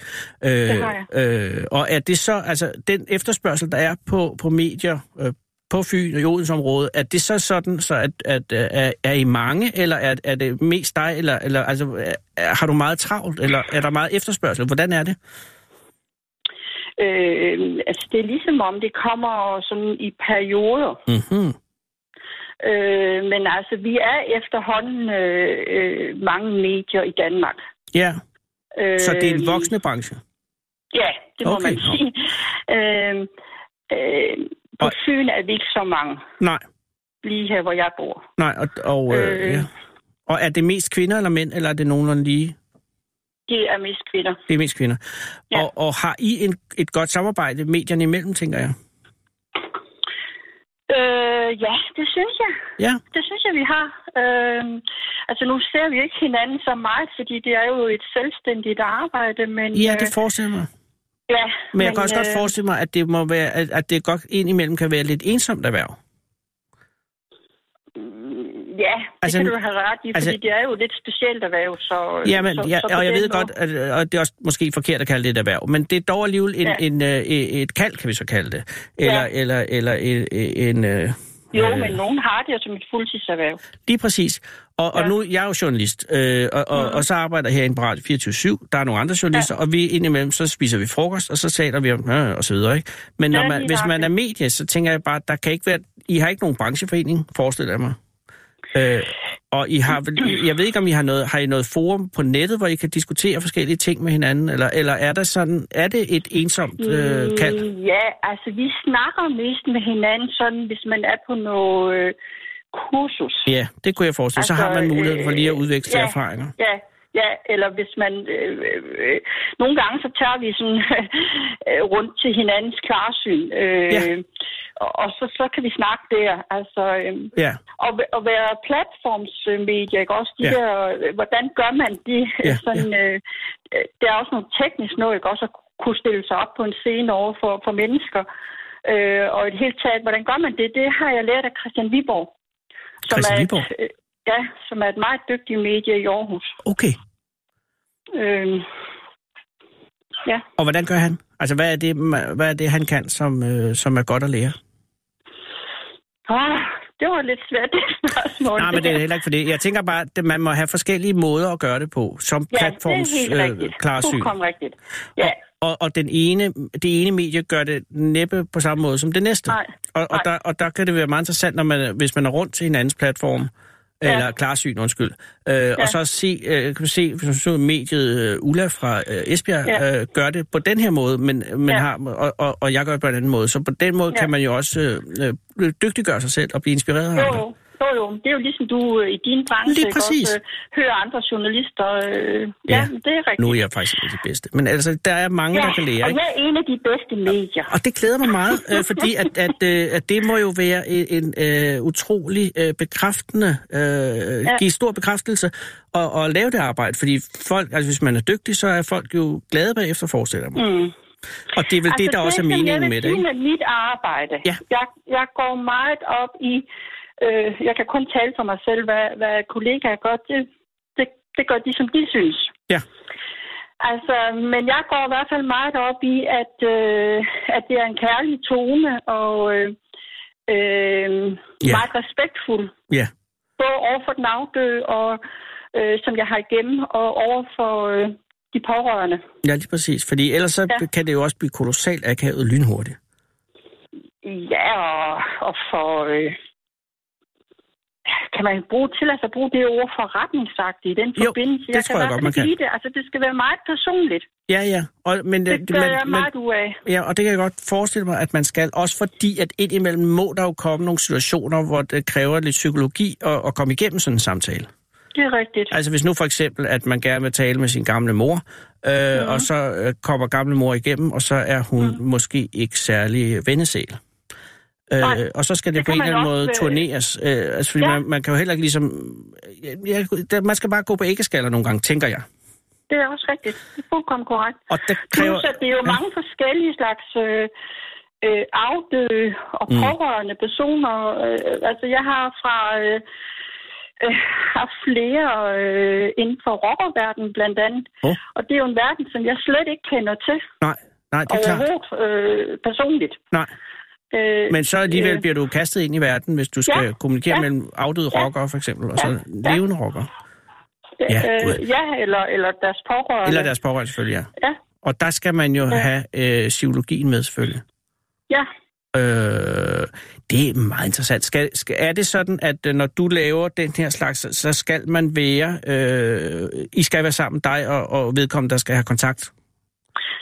Speaker 2: Øh, det
Speaker 3: har
Speaker 2: Øh, og er det så, altså den efterspørgsel, der er på, på medier øh, på Fyn og i Odensområdet, er det så sådan, så at, at, øh, er, er I mange, eller er, er det mest dig, eller, eller altså, er- er, har du meget travlt, eller er der meget efterspørgsel? Hvordan er det?
Speaker 3: Øh, altså det er ligesom om, det kommer sådan i perioder.
Speaker 2: Mm-hmm.
Speaker 3: Øh, men altså, vi er efterhånden øh, øh, mange medier i Danmark.
Speaker 2: Ja,
Speaker 3: Øh,
Speaker 2: så det er en voksende branche.
Speaker 3: Ja, det må
Speaker 2: Okay,
Speaker 3: okay. man
Speaker 2: nå.
Speaker 3: sige. Øh, øh, på
Speaker 2: Og-
Speaker 3: Fyn er vi ikke så mange.
Speaker 2: Nej,
Speaker 3: lige her, hvor jeg bor.
Speaker 2: nej, og, og, øh,
Speaker 3: Øh.
Speaker 2: ja. og er det mest kvinder eller mænd, eller er det nogenlunde lige?
Speaker 3: Det er mest kvinder.
Speaker 2: Det er mest kvinder. Ja.
Speaker 3: Ja.
Speaker 2: Og, og har I en, et godt samarbejde medierne imellem, tænker jeg?
Speaker 3: Øh, ja, det synes jeg.
Speaker 2: Ja,
Speaker 3: Det synes jeg, vi har. Øh, altså, nu ser vi ikke hinanden så meget, fordi det er jo et selvstændigt arbejde, men...
Speaker 2: ja
Speaker 3: øh,
Speaker 2: det forestiller mig.
Speaker 3: ja
Speaker 2: Men jeg kan også godt
Speaker 3: øh,
Speaker 2: forestille mig, at det, må være, at, at det godt indimellem kan være lidt ensomt erhverv.
Speaker 3: Ja, det
Speaker 2: Altså,
Speaker 3: altså, kan du have ret i,
Speaker 2: altså-
Speaker 3: fordi det er jo et lidt specielt erhverv, så...
Speaker 2: Ja, men,
Speaker 3: Øh, så,
Speaker 2: ja,
Speaker 3: så på
Speaker 2: og jeg
Speaker 3: den
Speaker 2: ved
Speaker 3: måde-
Speaker 2: godt, at, og det er også måske forkert at kalde det et erhverv, men det er dog alligevel en, ja.
Speaker 3: Ja.
Speaker 2: en, øh, et kald, kan vi så kalde det. Eller,
Speaker 3: Ja.
Speaker 2: eller, eller en, en... øh,
Speaker 3: Jo, men nogen har det jo som et fuldtidserhverv.
Speaker 2: Lige præcis. Og, ja. og
Speaker 3: Ja. Mm-hmm.
Speaker 2: nu, jeg er jo journalist, øh, og, og, og så arbejder jeg herinde på Radio 24-7. Der er nogle andre journalister, ja. og vi indimellem, så spiser vi frokost, og så taler vi om, øh, og så videre, ikke? Men når
Speaker 3: Ja,
Speaker 2: man,
Speaker 3: lige
Speaker 2: hvis man
Speaker 3: nøjagtigt.
Speaker 2: er medie, så tænker jeg bare, der kan ikke være... I har ikke nogen brancheforening, forestiller jeg mig. Øh, og I har vel, jeg ved ikke, om I har noget, har I noget forum på nettet, hvor I kan diskutere forskellige ting med hinanden, eller, eller er der sådan, er det et ensomt øh, kald?
Speaker 3: Mm, Ja, altså, vi snakker mest med hinanden sådan, hvis man er på noget øh, kursus.
Speaker 2: Ja, det kunne jeg forestille. Altså, så har
Speaker 3: Altså,
Speaker 2: man muligheden for lige at
Speaker 3: øh,
Speaker 2: udveksle
Speaker 3: ja.
Speaker 2: erfaringer.
Speaker 3: Ja, ja, eller hvis man... Øh, øh, øh, [LAUGHS] nogle gange så tager vi sådan øh, rundt til hinandens klarsyn. Øh,
Speaker 2: Ja.
Speaker 3: ja. og, og så, så kan vi snakke der. Altså, øhm,
Speaker 2: Ja,
Speaker 3: og, og være platformsmedier, ikke også? De
Speaker 2: Ja.
Speaker 3: ja. der, øh, hvordan gør man det?
Speaker 2: Ja,
Speaker 3: [LAUGHS] Ja, sådan, ja. Øh, øh, der er også noget teknisk noget, ikke også? At kunne stille sig op på en scene over for, for mennesker. Øh, og i det hele taget, hvordan gør man det? Det har jeg lært af Christian Viborg.
Speaker 2: Christian
Speaker 3: er
Speaker 2: Viborg?
Speaker 3: Et, øh, ja, som er et meget dygtigt medie i Aarhus.
Speaker 2: okay.
Speaker 3: Øh, ja.
Speaker 2: Og hvordan gør han? Altså, hvad er det, ma- hvad er det han kan, som, øh, som er godt at lære?
Speaker 3: Ah, det var lidt svært, det spørgsmål.
Speaker 2: Nej, men det er heller ikke for det. Jeg tænker bare, at man må have forskellige måder at gøre det på, som
Speaker 3: ja,
Speaker 2: platforms
Speaker 3: det er helt
Speaker 2: øh, Ah,
Speaker 3: rigtigt.
Speaker 2: klarsyn.
Speaker 3: Fuldkommen rigtigt. Ja,
Speaker 2: Og, og den ene, det ene medie gør det næppe på samme måde som det næste.
Speaker 3: Nej,
Speaker 2: og, og,
Speaker 3: nej.
Speaker 2: der, og der kan det være meget interessant, når man, hvis man er rundt til hinandens platform, ja.
Speaker 3: Ja.
Speaker 2: eller klarsyn, undskyld, øh, ja. og så se, øh, kan man se, hvis man så mediet øh, Ulla fra øh, Esbjerg ja.
Speaker 3: Ja.
Speaker 2: øh, gør det på den her måde, men, men ja.
Speaker 3: Ja.
Speaker 2: har, og, og, og jeg gør det på en anden måde. Så på den måde ja.
Speaker 3: Ja.
Speaker 2: kan man jo også øh, øh, dygtiggøre sig selv og blive inspireret af
Speaker 3: jo,
Speaker 2: andre.
Speaker 3: jo. Jo, jo. Det er jo ligesom du øh, i din branche
Speaker 2: Lige
Speaker 3: ikke
Speaker 2: præcis.
Speaker 3: også øh, hører andre journalister. Øh, ja.
Speaker 2: Ja.
Speaker 3: det er rigtigt.
Speaker 2: Nu er jeg faktisk ikke de bedste. Men altså, der er mange, ja. der kan lære.
Speaker 3: og
Speaker 2: Ikke?
Speaker 3: jeg er en af de bedste medier.
Speaker 2: Og det glæder mig meget, øh, fordi at, at, øh, at det må jo være en, en øh, utrolig øh, bekræftende, øh, ja. give stor bekræftelse og, og lave det arbejde. Fordi folk, altså hvis man er dygtig, så er folk jo glade bagefter, forestiller jeg mig.
Speaker 3: Mm.
Speaker 2: Og det er vel altså, det, der også er
Speaker 3: som jeg
Speaker 2: meningen
Speaker 3: vil
Speaker 2: med det,
Speaker 3: sige
Speaker 2: ikke?
Speaker 3: Med mit arbejde.
Speaker 2: Ja.
Speaker 3: Jeg, jeg går meget op i, øh, jeg kan kun tale for mig selv, hvad, hvad kollegaer gør, det, det, det gør de, som de synes.
Speaker 2: Ja.
Speaker 3: Altså, men jeg går i hvert fald meget op i, at, øh, at det er en kærlig tone, og øh, øh,
Speaker 2: Ja.
Speaker 3: meget respektfuld.
Speaker 2: Ja.
Speaker 3: Både over for den afdøde, og, øh, som jeg har igennem, og over for øh, de pårørende.
Speaker 2: Ja, lige præcis. Fordi ellers så ja.
Speaker 3: Ja.
Speaker 2: kan det jo også blive kolossalt akavet lynhurtigt.
Speaker 3: Ja, og, og for... Øh, kan man bruge til altså bruge det ord forretningsagtigt i den
Speaker 2: Jo,
Speaker 3: forbindelse?
Speaker 2: det tror jeg
Speaker 3: i hvert
Speaker 2: godt,
Speaker 3: fald
Speaker 2: man kan.
Speaker 3: lide Det. Altså, det skal være meget personligt.
Speaker 2: Ja, ja. Og, men, øh,
Speaker 3: Det gør
Speaker 2: men,
Speaker 3: jeg
Speaker 2: men,
Speaker 3: meget ud af.
Speaker 2: Ja, og det kan jeg godt forestille mig, at man skal. Også fordi, at indimellem må der jo komme nogle situationer, hvor det kræver lidt psykologi at, at komme igennem sådan en samtale.
Speaker 3: Det er rigtigt.
Speaker 2: Altså hvis nu for eksempel, at man gerne vil tale med sin gamle mor, øh,
Speaker 3: Mhm.
Speaker 2: mm. og så øh, kommer gamle mor igennem, og så er hun mm. måske ikke særlig vennesæl.
Speaker 3: Nej,
Speaker 2: Øh, og så skal det,
Speaker 3: det
Speaker 2: på en
Speaker 3: kan
Speaker 2: eller
Speaker 3: man
Speaker 2: anden måde
Speaker 3: også, øh,
Speaker 2: turneres. Øh, altså, fordi ja.
Speaker 3: ja.
Speaker 2: man, man kan jo heller ikke ligesom... Ja, Ja, der- man skal bare gå på æggeskaller nogle gange, tænker jeg.
Speaker 3: Det er også rigtigt. Det er fuldkommen korrekt.
Speaker 2: Og det kræver...
Speaker 3: Plus, at det er jo
Speaker 2: Ja.
Speaker 3: mange forskellige slags øh, øh, afdøde og
Speaker 2: Mm.
Speaker 3: pårørende personer. Øh, altså, jeg har fra... Øh, øh, haft flere øh, inden for rockerverdenen blandt andet.
Speaker 2: Åh.
Speaker 3: Og det er jo en verden, som jeg slet ikke kender til.
Speaker 2: Nej, nej, det er klart.
Speaker 3: overhovedet øh, personligt.
Speaker 2: Nej.
Speaker 3: Øh,
Speaker 2: Men så alligevel
Speaker 3: øh,
Speaker 2: bliver du kastet ind i verden, hvis du skal ja,
Speaker 3: ja,
Speaker 2: kommunikere ja,
Speaker 3: ja,
Speaker 2: mellem afdøde ja, rockere for eksempel, og så ja,
Speaker 3: ja.
Speaker 2: levende rockere. ja,
Speaker 3: ja,
Speaker 2: Gud.
Speaker 3: øh, ja eller, eller deres pårørende.
Speaker 2: Eller deres pårørende selvfølgelig, ja.
Speaker 3: Ja,
Speaker 2: Og der skal man jo ja.
Speaker 3: Ja.
Speaker 2: have øh, psykologien med selvfølgelig.
Speaker 3: ja.
Speaker 2: Øh, det er meget interessant. Skal, skal, er det sådan, at øh, når du laver den her slags, så- så skal man være, øh, I skal være sammen dig og, og vedkommende, der skal have kontakt?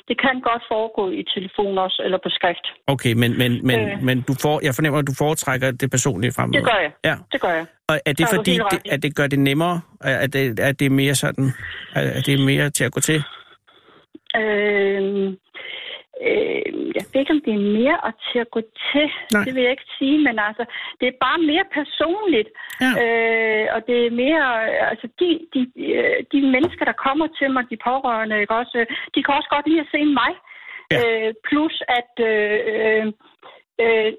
Speaker 3: Det kan godt foregå i telefon også, eller på skrift.
Speaker 2: Okay, men, men, men, øh.
Speaker 3: Øh.
Speaker 2: men du for, jeg fornemmer, at du foretrækker det personlige fremover.
Speaker 3: Det gør jeg.
Speaker 2: Ja.
Speaker 3: Det gør jeg.
Speaker 2: Og er det
Speaker 3: Så er du
Speaker 2: fordi,
Speaker 3: helt
Speaker 2: det,
Speaker 3: ret i.
Speaker 2: at det gør det nemmere? Er er det, er det mere sådan, er- er det mere til at gå til?
Speaker 3: Øh, øh, jeg ved ikke, om det er mere at til at gå til.
Speaker 2: Nej.
Speaker 3: Det vil jeg ikke sige, men altså, det er bare mere personligt.
Speaker 2: Ja.
Speaker 3: Øh, og det er mere, øh, altså de, de, øh, de mennesker, der kommer til mig, de pårørende, ikke også, øh, de kan også godt lide at se mig.
Speaker 2: Ja.
Speaker 3: Ja. Øh, plus at øh, øh, øh,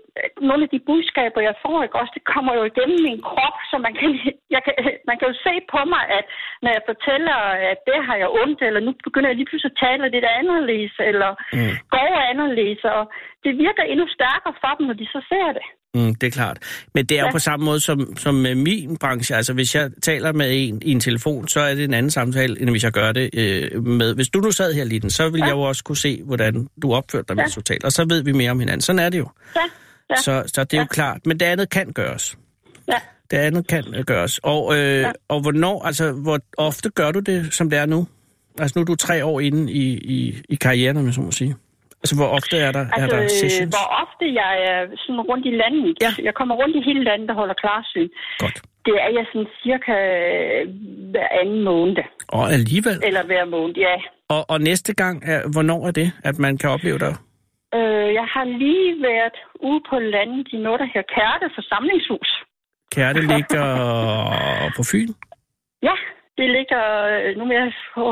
Speaker 3: nogle af de budskaber, jeg får, ikke også, det kommer jo igennem min krop, så man kan, [LAUGHS] jeg kan, man kan jo se på mig, at når jeg fortæller, at det har jeg ondt, eller nu begynder jeg lige pludselig at tale lidt anderledes, eller
Speaker 2: Mm.
Speaker 3: mm. går anderledes, og det virker endnu stærkere for dem, når de så ser det.
Speaker 2: Mm, det er klart. Men det er jo
Speaker 3: Ja.
Speaker 2: på samme måde som, som med min branche. Altså, hvis jeg taler med en i en telefon, så er det en anden samtale, end hvis jeg gør det øh, med... Hvis du nu sad her, Liden, så ville ja. jeg jo også kunne se, hvordan du opførte dig, mens du taler. Og så ved vi mere om hinanden. Sådan er det jo.
Speaker 3: Ja, ja,
Speaker 2: Så, så det er jo klart. Men det andet kan gøres.
Speaker 3: ja.
Speaker 2: Det andet kan øh, gøres. Og, øh, ja. og hvornår, altså, hvor ofte gør du det, som det er nu? Altså, nu er du tre år inde i, i, i karrieren, om jeg så må sige. Altså, hvor ofte er der, altså, er der
Speaker 3: Altså, øh,
Speaker 2: sessions?
Speaker 3: hvor ofte jeg er sådan rundt i landet.
Speaker 2: Ja.
Speaker 3: Jeg kommer rundt i hele landet og holder klarsyn.
Speaker 2: Godt.
Speaker 3: Det er jeg sådan cirka øh, hver anden måned.
Speaker 2: Og alligevel...
Speaker 3: Eller hver måned, ja.
Speaker 2: Og, og næste gang, er, hvornår er det, at man kan opleve dig?
Speaker 3: Øh, jeg har lige været ude på landet i noget, der hedder Kærte Forsamlingshus.
Speaker 2: Kærte ligger på Fyn.
Speaker 3: Ja, det ligger, øh, nu må jeg,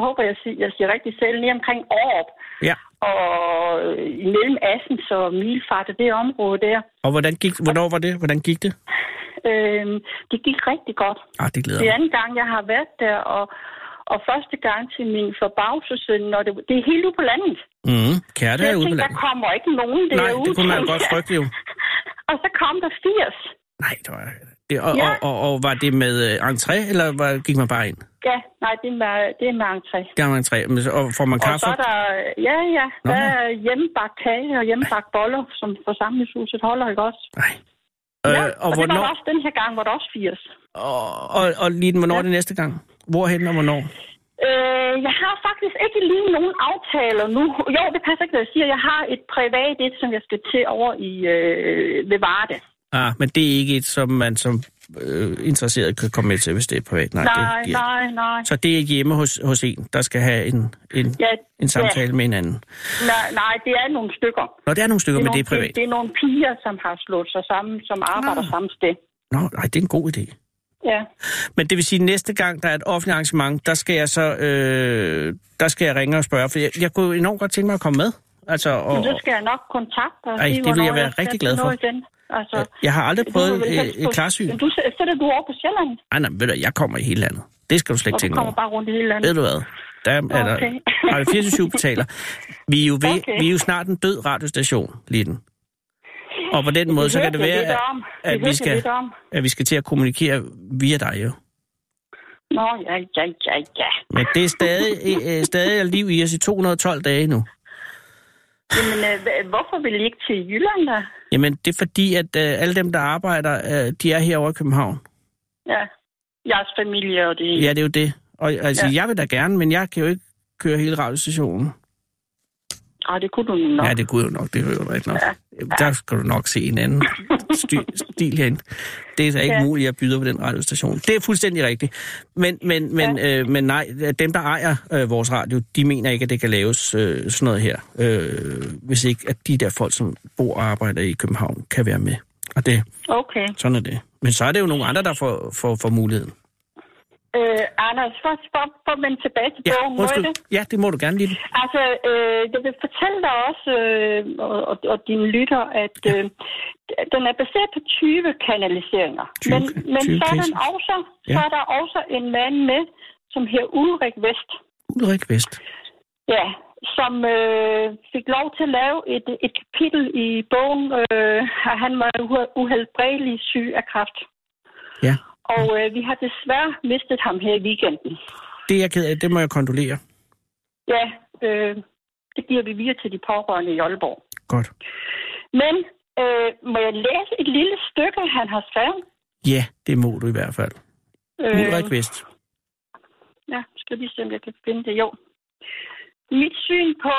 Speaker 3: håber jeg, sig- jeg siger rigtigt selv, lige omkring Aarup.
Speaker 2: Ja.
Speaker 3: Og øh, imellem Assens og Milfarte, det område der.
Speaker 2: Og hvordan gik, hvornår var det? Hvordan gik det?
Speaker 3: Øh, det gik rigtig godt.
Speaker 2: Ah, det glæder
Speaker 3: Det er
Speaker 2: mig.
Speaker 3: anden gang, jeg har været der, og, og første gang til min forbavselse, når det, det er helt ude på landet.
Speaker 2: Mm. Kærte
Speaker 3: Så jeg
Speaker 2: er ude på
Speaker 3: tænkte,
Speaker 2: landet.
Speaker 3: der kommer ikke nogen
Speaker 2: Nej,
Speaker 3: derude.
Speaker 2: det kunne man jo
Speaker 3: tænkte
Speaker 2: godt
Speaker 3: jeg.
Speaker 2: frygte jo.
Speaker 3: Og så kom der 80.
Speaker 2: Nej, det var... Det, og,
Speaker 3: Ja.
Speaker 2: og, og, og, var det med øh, entré, eller var, gik man bare ind?
Speaker 3: Ja, nej, det er med, det er med entré.
Speaker 2: Det var med entré. Men så- Og får man
Speaker 3: Og
Speaker 2: kaffe?
Speaker 3: så er der, ja, ja,
Speaker 2: Nå.
Speaker 3: der er hjemmebagt kage og hjemmebagt boller, som forsamlingshuset holder, ikke også?
Speaker 2: Nej. Øh,
Speaker 3: ja, og
Speaker 2: og,
Speaker 3: det var
Speaker 2: hvornår,
Speaker 3: også den her gang, hvor der også 80.
Speaker 2: og, og, og lige hvornår er det næste gang? Hvorhen og hvornår?
Speaker 3: Øh, jeg har faktisk ikke lige nogen aftaler nu. Jo, det passer ikke, hvad jeg siger. Jeg har et privat et, som jeg skal til over i øh, ved Varde.
Speaker 2: Ah, men det er ikke et, som man som øh, interesseret kan komme med til, hvis det er privat. Nej,
Speaker 3: Nej,
Speaker 2: det giver-
Speaker 3: nej, nej.
Speaker 2: Så det er hjemme hos, hos en, der skal have en, en,
Speaker 3: Ja,
Speaker 2: en samtale med hinanden.
Speaker 3: Ja, nej, nej, det er nogle stykker.
Speaker 2: Nå, der er nogle stykker, men det
Speaker 3: nogle,
Speaker 2: er privat. Ah.
Speaker 3: det er nogle piger, som har slået sig sammen, som arbejder
Speaker 2: Nå.
Speaker 3: samme sted.
Speaker 2: Nå, nej, det er en god idé.
Speaker 3: Ja.
Speaker 2: Men det vil sige, at næste gang, der er et offentligt arrangement, der skal jeg så øh, der skal jeg ringe og spørge, for jeg, jeg kunne enormt godt tænke mig at komme med. Altså, og,
Speaker 3: Men så skal jeg nok kontakte og
Speaker 2: Ej,
Speaker 3: sige,
Speaker 2: det vil jeg
Speaker 3: hvornår
Speaker 2: være
Speaker 3: skal
Speaker 2: rigtig
Speaker 3: til
Speaker 2: glad for.
Speaker 3: noget Igen. Altså,
Speaker 2: jeg, jeg har aldrig
Speaker 3: du
Speaker 2: prøvet
Speaker 3: vil
Speaker 2: øh,
Speaker 3: helst
Speaker 2: et
Speaker 3: på-
Speaker 2: klarsyn.
Speaker 3: Men Du, s- sætter du over på Sjælland,
Speaker 2: Nej, nej, ved du, jeg kommer i hele landet. Det skal du slet ikke
Speaker 3: og du
Speaker 2: tænke
Speaker 3: kommer
Speaker 2: over.
Speaker 3: bare rundt i hele landet.
Speaker 2: Ved du hvad? Der er, okay. er der, [LAUGHS]
Speaker 3: Okay.
Speaker 2: der er 24 betaler. Vi er, jo ved, okay.
Speaker 3: Okay.
Speaker 2: vi er jo snart en død radiostation, Litten. Og på den måde, så kan det
Speaker 3: hørte jeg
Speaker 2: være,
Speaker 3: lidt
Speaker 2: at,
Speaker 3: om.
Speaker 2: at vi
Speaker 3: hørte jeg
Speaker 2: skal-
Speaker 3: lidt om.
Speaker 2: at vi skal til at kommunikere via dig jo.
Speaker 3: Nå, ja, ja, ja, ja.
Speaker 2: Men det er stadig, øh, stadig er liv i os i 212 dage nu.
Speaker 3: Jamen, øh, hva- hvorfor vil I ikke til Jylland, da?
Speaker 2: Jamen, det er fordi, at øh, alle dem, der arbejder, øh, de er herovre i København.
Speaker 3: Ja. Jeres familie og det.
Speaker 2: Ja, det er jo det. Og altså, ja.
Speaker 3: Ja.
Speaker 2: jeg vil da gerne, men jeg kan jo ikke køre hele radiostationen.
Speaker 3: Ej, det kunne du nu nok.
Speaker 2: Ja, det kunne jo nok, det hører du ikke nok.
Speaker 3: Ja.
Speaker 2: Der skal du nok se en anden stil, stil herinde. Det er da ikke ja.
Speaker 3: Ja.
Speaker 2: muligt, at byder på den radiostation. Det er fuldstændig rigtigt. Men, men, men, ja. øh, men nej, dem der ejer øh, vores radio, de mener ikke, at det kan laves øh, sådan noget her. Øh, hvis ikke, at de der folk, som bor og arbejder i København, kan være med. Og det,
Speaker 3: Okay.
Speaker 2: sådan er det. Men så er det jo nogle andre, der får, får, får muligheden.
Speaker 3: Øh, Anders, for, for, for at vende tilbage til
Speaker 2: Ja,
Speaker 3: bogen, må jeg
Speaker 2: undskyld.
Speaker 3: det?
Speaker 2: Ja, det må du gerne lige.
Speaker 3: Altså, øh, jeg vil fortælle dig også, øh, og, og, og dine lytter, at øh, den er baseret på 20 kanaliseringer.
Speaker 2: 20
Speaker 3: men
Speaker 2: ka-
Speaker 3: men
Speaker 2: 20
Speaker 3: så, er den
Speaker 2: cases.
Speaker 3: også,
Speaker 2: Ja.
Speaker 3: så er der også en mand med, som hedder Ulrik Vest,
Speaker 2: Ulrik Vest.
Speaker 3: ja, som øh, fik lov til at lave et, et kapitel i bogen, øh, at han var uhe- uheldbredelig syg af kræft.
Speaker 2: Ja.
Speaker 3: Og øh, vi har desværre mistet ham her i weekenden.
Speaker 2: Det er jeg ked af. Det må jeg kondolere.
Speaker 3: Ja, øh, det giver vi videre til de pårørende i Aalborg.
Speaker 2: Godt.
Speaker 3: Men øh, må jeg læse et lille stykke, han har skrevet?
Speaker 2: Ja, det må du i hvert fald.
Speaker 3: Øh.
Speaker 2: Ulrik Vest.
Speaker 3: ja, skal lige se, om jeg kan finde det. Jo. Mit syn på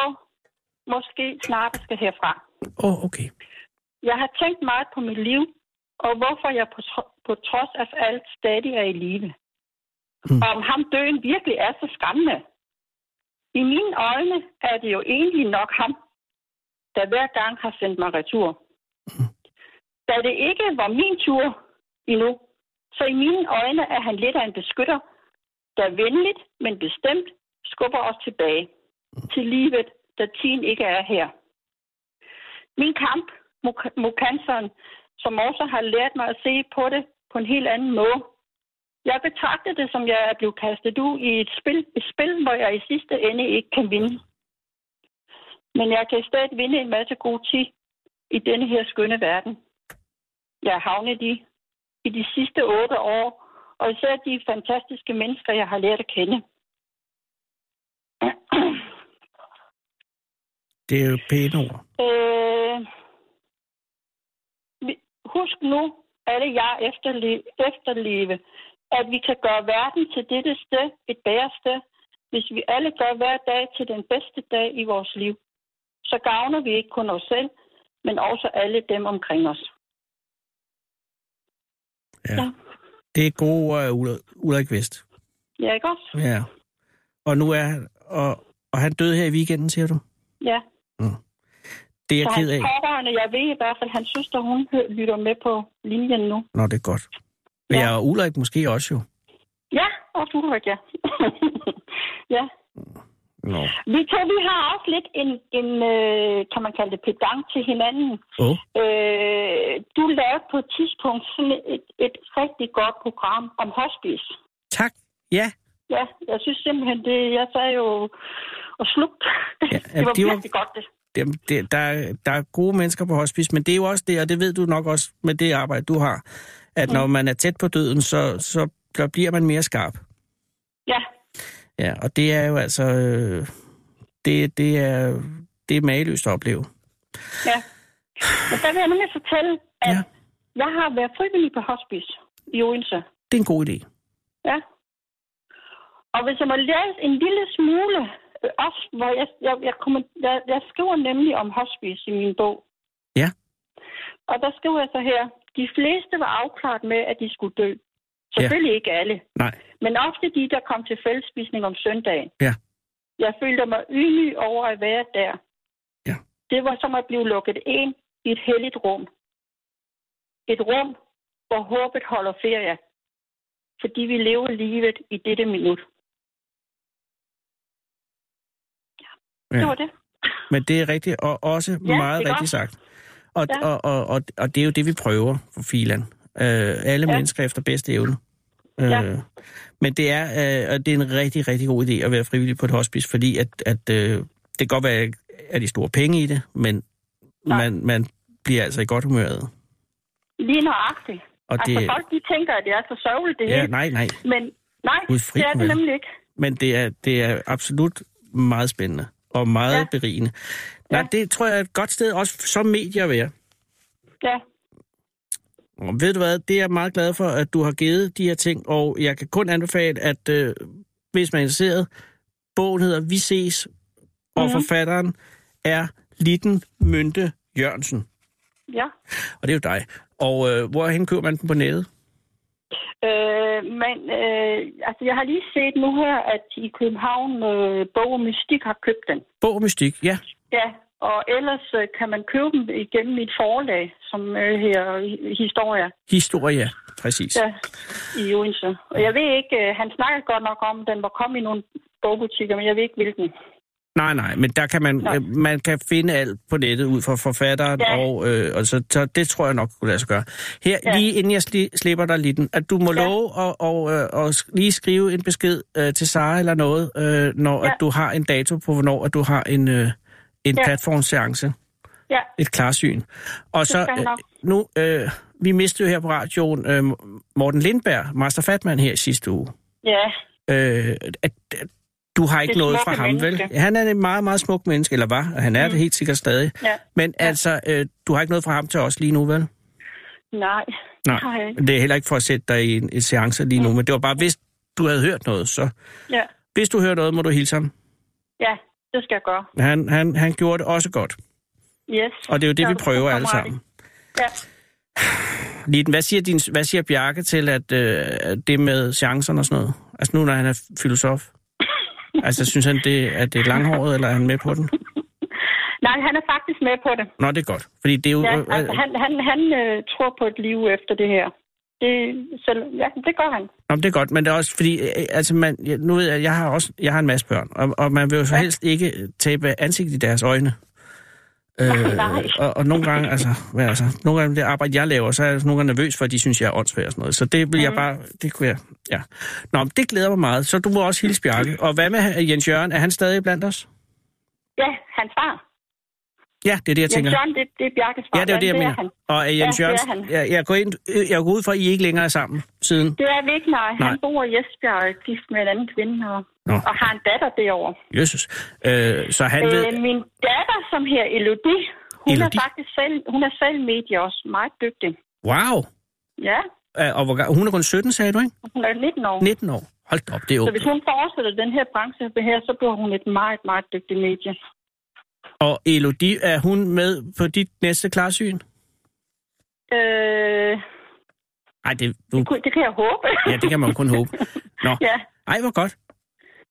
Speaker 3: måske snart skal herfra.
Speaker 2: Åh, oh, okay.
Speaker 3: Jeg har tænkt meget på mit liv, og hvorfor jeg på, tro- på trods af alt stadig er i live.
Speaker 2: Mm.
Speaker 3: Mm. Om ham døden virkelig er så skræmmende. I mine øjne er det jo egentlig nok ham, der hver gang har sendt mig retur.
Speaker 2: Mm.
Speaker 3: Da det ikke var min tur endnu, så i mine øjne er han lidt af en beskytter, der venligt, men bestemt skubber os tilbage til livet, da tiden ikke er her. Min kamp mod- mod canceren, som også har lært mig at se på det på en helt anden måde. Jeg betragter det, som jeg er blevet kastet ud i et spil, et spil, hvor jeg i sidste ende ikke kan vinde. Men jeg kan stadig vinde en masse god tid i denne her skønne verden. Jeg er havnet i, i de sidste otte år, og især de fantastiske mennesker, jeg har lært at kende. [CLEARS THROAT]
Speaker 2: Det er jo pæne ord.
Speaker 3: Øh, vi- husk nu, alle jer efterleve, efterleve, at vi kan gøre verden til dette sted et bedre sted, hvis vi alle gør hver dag til den bedste dag i vores liv. Så gavner vi ikke kun os selv, men også alle dem omkring os.
Speaker 2: Det er gode ord af Ulla- Ulrik Vest.
Speaker 3: Ja, ikke også?
Speaker 2: Ja. Og nu er han, og, og han døde her i weekenden, siger du?
Speaker 3: Ja.
Speaker 2: Mm. Det er jeg
Speaker 3: Så
Speaker 2: ked
Speaker 3: hans
Speaker 2: af.
Speaker 3: pårørende, jeg ved i hvert fald, hans søster, hun hø- lytter med på linjen nu.
Speaker 2: Nå, det er godt. Men
Speaker 3: Ja.
Speaker 2: jeg er Ulrik måske også jo.
Speaker 3: Ja, og du Ulrik, ja. [LAUGHS] ja.
Speaker 2: Nå.
Speaker 3: Vi to, vi har også lidt en, en øh, kan man kalde det, pedang til hinanden.
Speaker 2: Åh,
Speaker 3: Øh, du lavede på et tidspunkt sådan et, et rigtig godt program om hospice.
Speaker 2: tak. Ja,
Speaker 3: Ja, jeg synes simpelthen, det, jeg sagde jo og slugt.
Speaker 2: Ja,
Speaker 3: Ja, [LAUGHS] det var
Speaker 2: det var-
Speaker 3: virkelig godt, det.
Speaker 2: det, det, der, er- der er gode mennesker på hospice, men det er jo også det, og det ved du nok også med det arbejde, du har, at når man er tæt på døden, så, så der bliver man mere skarp.
Speaker 3: Ja,
Speaker 2: Ja, og det er jo altså... Øh, det, det, er, det er mageløst at opleve.
Speaker 3: ja. Men der vil jeg nemlig fortælle, at
Speaker 2: Ja.
Speaker 3: ja. jeg har været frivillig på hospice i Odense.
Speaker 2: Det er en god idé.
Speaker 3: Ja. Og hvis jeg må læse en lille smule, øh, også hvor jeg, jeg, jeg, kommer, jeg, jeg skriver nemlig om hospice i min bog.
Speaker 2: Ja.
Speaker 3: Og der skriver jeg så her, de fleste var afklaret med, at de skulle dø. Selvfølgelig ja. ikke alle.
Speaker 2: Nej.
Speaker 3: Men ofte de, der kom til fællesspisning om søndagen.
Speaker 2: Ja.
Speaker 3: Jeg følte mig ydmyg over at være der.
Speaker 2: Ja.
Speaker 3: Det var som at blive lukket ind i et helligt rum. Et rum, hvor håbet holder ferie. Fordi vi lever livet i dette minut. Ja. Det
Speaker 2: Ja.
Speaker 3: var det.
Speaker 2: Men det er rigtigt, og også ja, meget
Speaker 3: det er
Speaker 2: rigtigt
Speaker 3: godt.
Speaker 2: sagt. Og, ja.
Speaker 3: Ja.
Speaker 2: og, og, og, og det er jo det, vi prøver for filan. Øh, alle ja.
Speaker 3: Ja.
Speaker 2: mennesker efter bedste evne. Øh,
Speaker 3: Ja.
Speaker 2: Men det er, øh, og det er en rigtig, rigtig god idé at være frivillig på et hospice, fordi at, at, øh, det kan godt være, at de store penge i det, men
Speaker 3: Nej.
Speaker 2: man, man bliver altså i godt humør af. det.
Speaker 3: Lige nøjagtigt.
Speaker 2: Og
Speaker 3: Altså
Speaker 2: det,
Speaker 3: folk, de tænker, at det er så sørgeligt det
Speaker 2: ja,
Speaker 3: hele.
Speaker 2: nej, nej.
Speaker 3: Men nej,
Speaker 2: Gud, fri
Speaker 3: det er det
Speaker 2: mig.
Speaker 3: nemlig ikke.
Speaker 2: men det er, det er absolut meget spændende og meget ja.
Speaker 3: Ja.
Speaker 2: berigende. Nej, ja.
Speaker 3: Ja.
Speaker 2: det tror jeg er et godt sted også som medie at være.
Speaker 3: Ja,
Speaker 2: Og ved du hvad, det er jeg meget glad for, at du har givet de her ting, og jeg kan kun anbefale, at øh, hvis man er interesseret, bogen hedder Vi ses, og mm-hmm.
Speaker 3: Mhm.
Speaker 2: forfatteren er Litten Mynte Jørgensen,
Speaker 3: ja.
Speaker 2: og det er jo dig. Og øh, hvorhen køber man den på nettet?
Speaker 3: Øh, men øh, altså, jeg har lige set nu her, at i København øh, Bog og Mystik har købt den.
Speaker 2: Bog og Mystik, ja.
Speaker 3: Ja, og ellers øh, kan man købe dem igennem mit forlag, som øh, her i- Historia
Speaker 2: Historia, præcis. Ja.
Speaker 3: ja, i Odense. Og jeg ved ikke, øh, han snakkede godt nok om, at den var kommet i nogle bogbutikker, men jeg ved ikke hvilken.
Speaker 2: Nej, nej, men der kan man,
Speaker 3: Nej.
Speaker 2: øh, man kan finde alt på nettet ud fra forfatteren, ja.
Speaker 3: Ja.
Speaker 2: og, øh, og så, så det tror jeg nok kunne lade sig gøre. Her, ja.
Speaker 3: Ja.
Speaker 2: lige inden jeg sli, slipper dig lidt, at du må ja.
Speaker 3: Ja.
Speaker 2: love at og, øh, og sk- lige skrive en besked øh, til Sara eller noget, øh, når ja.
Speaker 3: Ja.
Speaker 2: at du har en dato på, hvornår at du har en, øh, en ja.
Speaker 3: Ja.
Speaker 2: platformseance,
Speaker 3: Ja,
Speaker 2: et klarsyn. Og så
Speaker 3: skal jeg
Speaker 2: øh,
Speaker 3: nok.
Speaker 2: nu, øh, vi mistede jo her på radioen øh, Morten Lindberg, Master Fatman her i sidste uge.
Speaker 3: ja,
Speaker 2: Øh, at, at du har ikke
Speaker 3: Det
Speaker 2: noget fra
Speaker 3: smukke
Speaker 2: ham, vel?
Speaker 3: menneske.
Speaker 2: Han er en meget, meget smuk menneske, eller var, og han er mm. det helt sikkert stadig.
Speaker 3: ja.
Speaker 2: Men ja. altså, øh, du har ikke noget fra ham til os lige nu, vel?
Speaker 3: Nej,
Speaker 2: Nej.
Speaker 3: har jeg ikke.
Speaker 2: Det er heller ikke for at sætte dig i en, en seance lige nu,
Speaker 3: Mm.
Speaker 2: men det var bare, hvis du havde hørt noget, så...
Speaker 3: [LAUGHS] Ja,
Speaker 2: Hvis du hører noget, må du hilse ham.
Speaker 3: ja, det skal jeg gøre.
Speaker 2: Han, han, han gjorde det også godt,
Speaker 3: Yes.
Speaker 2: og det er jo det,
Speaker 3: Ja,
Speaker 2: vi
Speaker 3: du er
Speaker 2: prøver
Speaker 3: god
Speaker 2: alle
Speaker 3: kammerat.
Speaker 2: sammen.
Speaker 3: Ja.
Speaker 2: Liden, hvad siger, din, hvad siger Bjarke til at øh, at det med seancerne og sådan noget? Altså nu, når han er
Speaker 3: [LAUGHS]
Speaker 2: filosof. Altså, synes han, det, at det er langhåret, eller er han med på den?
Speaker 3: Nej, han er faktisk med på det.
Speaker 2: Nå, det er godt. Fordi det er jo...
Speaker 3: Ja,
Speaker 2: øh,
Speaker 3: altså, han, han, han øh, tror på et liv efter det her. Det, så, ja, det gør han.
Speaker 2: Nå, men det er godt, men det er også fordi, øh, altså man, ja, nu ved jeg, jeg har også, jeg har en masse børn, og, og man vil jo så
Speaker 3: Ja.
Speaker 2: helst ikke øh, tabe ansigt i deres øjne. Øh,
Speaker 3: [LAUGHS] nej.
Speaker 2: og, og, nogle gange, altså, hvad altså, nogle gange det arbejde, jeg laver, så er jeg altså nogle gange nervøs for, at de synes, jeg er åndssvær og sådan noget. Så det vil
Speaker 3: Mm.
Speaker 2: jeg bare, det kunne jeg, ja. Nå, men det glæder mig meget, så du må også hilse Bjarke. Og hvad med øh, Jens Jørgen, er han stadig blandt os?
Speaker 3: Ja, hans far.
Speaker 2: Ja, det er det, jeg
Speaker 3: Jens
Speaker 2: tænker.
Speaker 3: Jørgen, det, det er Bjarkes far.
Speaker 2: Ja, det er jo det, jeg
Speaker 3: er
Speaker 2: mener.
Speaker 3: han.
Speaker 2: Og øh, Jens
Speaker 3: Ja, det er
Speaker 2: Jørgen,
Speaker 3: han.
Speaker 2: jeg, jeg, går ind, øh, jeg går ud fra, at I ikke længere er sammen siden.
Speaker 3: Det er vi ikke, nej. Han
Speaker 2: Nej.
Speaker 3: bor i Esbjerg og er gift med en anden kvinde og,
Speaker 2: Nå.
Speaker 3: og har en datter derovre.
Speaker 2: Jesus. Øh, så han ved...
Speaker 3: Øh, min datter, som her Elodie, hun
Speaker 2: Elodie?
Speaker 3: er faktisk selv, hun er selv medie også. Meget dygtig.
Speaker 2: Wow!
Speaker 3: Ja,
Speaker 2: Øh, Og hvor, ga- hun er kun 17, sagde du, ikke?
Speaker 3: hun er 19 år.
Speaker 2: 19 år. Hold da op, det er
Speaker 3: Så
Speaker 2: jo...
Speaker 3: hvis hun fortsætter den her branche her, så bliver hun et meget, meget dygtigt medie.
Speaker 2: Og Elodie, er hun med på dit næste klarsyn?
Speaker 3: Øh,
Speaker 2: Nej, det, du,
Speaker 3: gud, det kan jeg håbe.
Speaker 2: ja, det kan man jo kun håbe. Nå,
Speaker 3: [LAUGHS] ja.
Speaker 2: ej, hvor godt.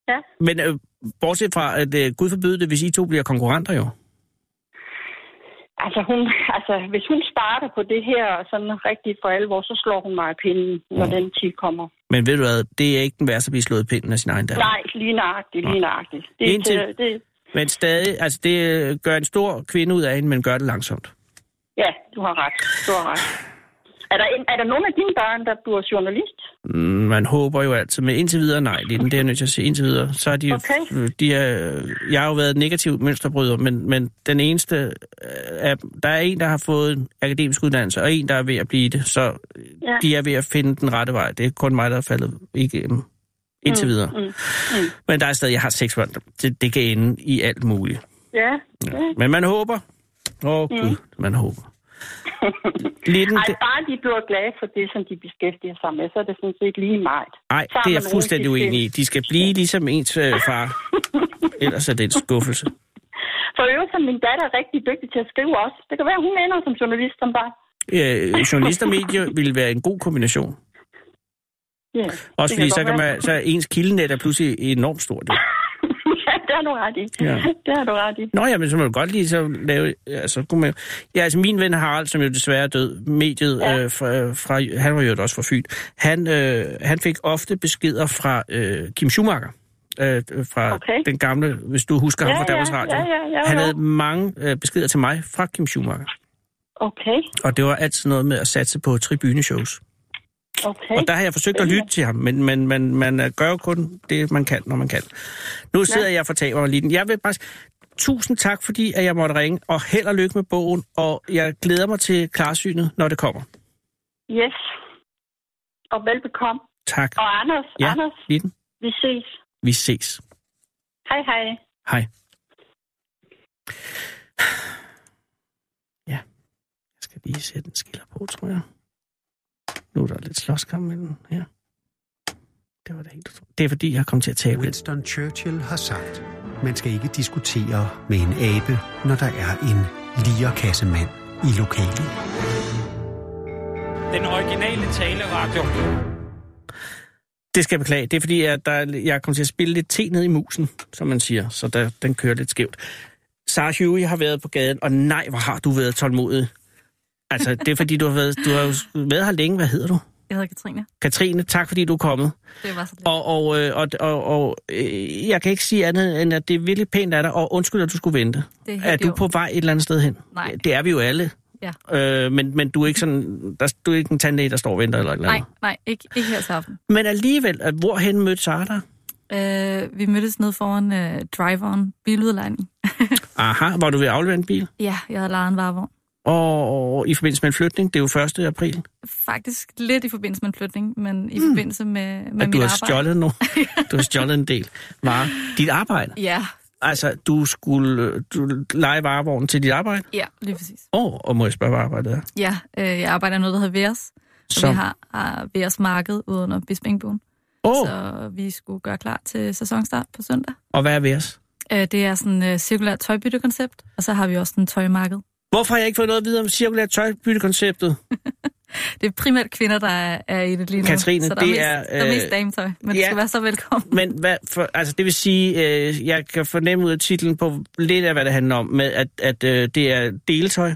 Speaker 3: Ja.
Speaker 2: Men øh, bortset fra, at øh, Gud forbyde det, hvis I to bliver konkurrenter jo.
Speaker 3: Altså, hun, altså, hvis hun starter på det her sådan rigtigt for alvor, så slår hun mig i pinden, når
Speaker 2: Mm.
Speaker 3: den tid kommer.
Speaker 2: Men ved du hvad, det er ikke den værste at blive slået i pinden af sin egen datter.
Speaker 3: Nej, lige nøjagtigt, lige nøjagtigt. Det, er
Speaker 2: Indtil-
Speaker 3: til- det,
Speaker 2: Men stadig, altså det øh, gør en stor kvinde ud af hende, men gør det langsomt.
Speaker 3: ja, du har ret. Du har ret. Er der, en, er der nogen af dine børn, der bliver journalist?
Speaker 2: Mm, Man håber jo altid, men indtil videre, nej, Liden, det er jeg nødt til at sige, indtil videre, så er de, Mm,
Speaker 3: Okay.
Speaker 2: de er, jeg har jo været negativ mønsterbryder, men, men den eneste, øh, er, der er en, der har fået en akademisk uddannelse, og en, der er ved at blive det, så øh,
Speaker 3: Ja.
Speaker 2: de er ved at finde den rette vej. Det er kun mig, der er faldet igennem indtil videre.
Speaker 3: mm, mm.
Speaker 2: Men der er stadig, jeg har seks børn, det, det kan ende i alt muligt.
Speaker 3: Ja.
Speaker 2: Ja. Men man håber. Åh, oh, gud, man
Speaker 3: [LAUGHS]
Speaker 2: håber. Liden,
Speaker 3: Ej,
Speaker 2: det,
Speaker 3: bare de bliver glade for det, som de beskæftiger sig med, så er det sådan set lige meget.
Speaker 2: nej, det er jeg fuldstændig uenig i. De skal blive ligesom ens øh,
Speaker 3: [LAUGHS]
Speaker 2: far. Ellers er det en skuffelse.
Speaker 3: For øvrigt, som min datter er rigtig dygtig til at skrive også. Det kan være, hun ender som journalist som bare.
Speaker 2: Øh, journalist og medie ville være en god kombination.
Speaker 3: Ja,
Speaker 2: Også
Speaker 3: det
Speaker 2: fordi
Speaker 3: godt
Speaker 2: så, kan
Speaker 3: være.
Speaker 2: man, så er ens kildenet er pludselig enormt stort. jo.
Speaker 3: [LAUGHS] ja, det har du ret i.
Speaker 2: Ja.
Speaker 3: Ja. Det har du ret i.
Speaker 2: Nå ja, men så må du godt lige så lave... Altså, kunne man, ja, altså min ven Harald, som jo desværre er død, mediet
Speaker 3: Ja.
Speaker 2: øh, fra, fra... Han var jo også fra Fyn. Han, øh, han fik ofte beskeder fra øh, Kim Schumacher. Øh, fra
Speaker 3: Okay.
Speaker 2: den gamle, hvis du husker ham
Speaker 3: Ja,
Speaker 2: fra Danmarks
Speaker 3: ja,
Speaker 2: Radio.
Speaker 3: ja, ja, ja,
Speaker 2: han
Speaker 3: ja.
Speaker 2: havde mange øh, beskeder til mig fra Kim Schumacher.
Speaker 3: Okay,
Speaker 2: Og det var altid noget med at satse på tribuneshows.
Speaker 3: okay.
Speaker 2: Og der har jeg forsøgt at lytte til ham, men, men, men man øh, gør jo kun det, man kan, når man kan. Nu sidder jeg og fortaber mig lidt. Jeg vil bare... s- Tusind tak, fordi at jeg måtte ringe, og held og lykke med bogen, og jeg glæder mig til klarsynet, når det kommer.
Speaker 3: Yes. Og velbekomme.
Speaker 2: Tak,
Speaker 3: Og Anders,
Speaker 2: Ja.
Speaker 3: ja. Anders,
Speaker 2: Litten.
Speaker 3: vi ses.
Speaker 2: Vi ses.
Speaker 3: Hej, hej.
Speaker 2: Hej. Ja, jeg skal lige sætte en skiller på, tror jeg. Nu er der lidt slåskamp mellem her. Det var da helt utroligt. Det er fordi, jeg kom til at tabe lidt.
Speaker 1: Winston Churchill har sagt, man skal ikke diskutere med en abe, når der er en lierkassemand i lokalet.
Speaker 4: Den originale taleradio.
Speaker 2: Det skal jeg beklage. Det er fordi, at der, er- jeg kom til at spille lidt te ned i musen, som man siger. Så der, den kører lidt skævt. Sarah Huey har været på gaden, og nej, hvor har du været tålmodig. Altså, det er fordi, du har været, du har jo været her længe. Hvad hedder du?
Speaker 5: Jeg hedder Katrine.
Speaker 2: Katrine, tak fordi du er kommet.
Speaker 5: Det var så lidt.
Speaker 2: Og, og, øh, og, og, og øh, jeg kan ikke sige andet, end at det er virkelig pænt af dig, og undskyld, at du skulle vente.
Speaker 5: Det er helt
Speaker 2: Er
Speaker 5: i
Speaker 2: du
Speaker 5: orden.
Speaker 2: på vej et eller andet sted hen?
Speaker 5: Nej.
Speaker 2: Det er vi jo alle.
Speaker 5: Ja.
Speaker 2: Øh, men, men du er ikke sådan, der, du er ikke en tandlæge, der står og venter eller et eller
Speaker 5: Nej,
Speaker 2: andet.
Speaker 5: nej, ikke, ikke her til aften.
Speaker 2: Men alligevel, at hvorhen mødte Sara dig?
Speaker 5: Øh, vi mødtes nede foran øh, driveren, biludlejning.
Speaker 2: Aha, var du ved at aflevere en bil?
Speaker 5: Ja, jeg havde lejet en varevogn.
Speaker 2: Og i forbindelse med en flytning, det er jo 1. april,
Speaker 5: Faktisk lidt i forbindelse med en flytning, men i mm. forbindelse med, med
Speaker 2: at
Speaker 5: mit
Speaker 2: du har
Speaker 5: arbejde.
Speaker 2: stjålet nu. Du har stjålet en del. Var dit arbejde?
Speaker 5: [LAUGHS] Ja,
Speaker 2: Altså, du skulle øh, du lege varevognen til dit arbejde?
Speaker 5: ja, lige præcis.
Speaker 2: Åh, oh, og må jeg spørge, hvad arbejdet er?
Speaker 5: Ja, øh, jeg arbejder i noget, der hedder Veras. Så. Vi
Speaker 2: Som-
Speaker 5: har, har Veras Marked ude under Bispingbuen.
Speaker 2: Åh, oh,
Speaker 5: Så vi skulle gøre klar til sæsonstart på søndag.
Speaker 2: og hvad er ved os?
Speaker 5: Øh, det er sådan et øh, cirkulært tøjbyttekoncept, og så har vi også en tøjmarked.
Speaker 2: Hvorfor har jeg ikke fået noget at vide om cirkulært tøjbyttekonceptet?
Speaker 5: Det er primært kvinder, der er, er i det lige nu.
Speaker 2: Katrine,
Speaker 5: så der
Speaker 2: det
Speaker 5: mest,
Speaker 2: er,
Speaker 5: Der er
Speaker 2: øh,
Speaker 5: mest dametøj, men ja.
Speaker 2: ja.
Speaker 5: du skal være så velkommen. [LAUGHS]
Speaker 2: Men hvad for, altså det vil sige, øh, jeg kan fornemme ud af titlen på lidt af, hvad det handler om, med at, at øh, det er deltøj.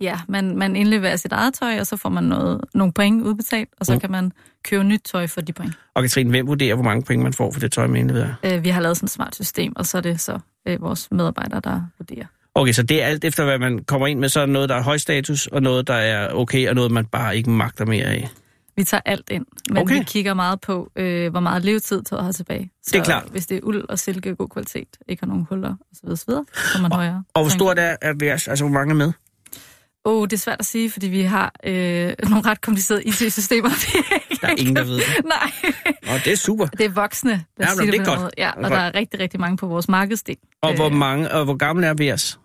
Speaker 5: Ja, man, man indleverer sit eget tøj, og så får man noget, nogle point udbetalt, og så
Speaker 2: Mm.
Speaker 5: mm. kan man købe nyt tøj for de point.
Speaker 2: Og Katrine, hvem vurderer, hvor mange penge man får for det tøj, man indleverer?
Speaker 5: Øh, vi har lavet sådan et smart system, og så er det så øh, vores medarbejdere, der vurderer.
Speaker 2: Okay, så det er alt efter, hvad man kommer ind med, så er der noget, der er højstatus, og noget, der er okay, og noget, man bare ikke magter mere af.
Speaker 5: Vi tager alt ind, men
Speaker 2: Okay.
Speaker 5: okay. vi kigger meget på, øh, hvor meget levetid tøjet har tilbage. Så
Speaker 2: Det er klart.
Speaker 5: Hvis det er uld og silke af god kvalitet, ikke har nogen huller osv., osv. så får man højere.
Speaker 2: Og hvor stort er, er vers, altså hvor mange er med?
Speaker 5: Åh, oh, det er svært at sige, fordi vi har øh, nogle ret komplicerede [LAUGHS] IT-systemer.
Speaker 2: Der er ingen, der ved det.
Speaker 5: Nej.
Speaker 2: Og det er super.
Speaker 5: Det er voksne, der
Speaker 2: Ja,
Speaker 5: ja,
Speaker 2: men
Speaker 5: siger det,
Speaker 2: det er
Speaker 5: det
Speaker 2: godt.
Speaker 5: Måde. Ja,
Speaker 2: Det er
Speaker 5: og der er rigtig, rigtig mange på vores markedsdel.
Speaker 2: Og hvor mange, og hvor gammel er vers?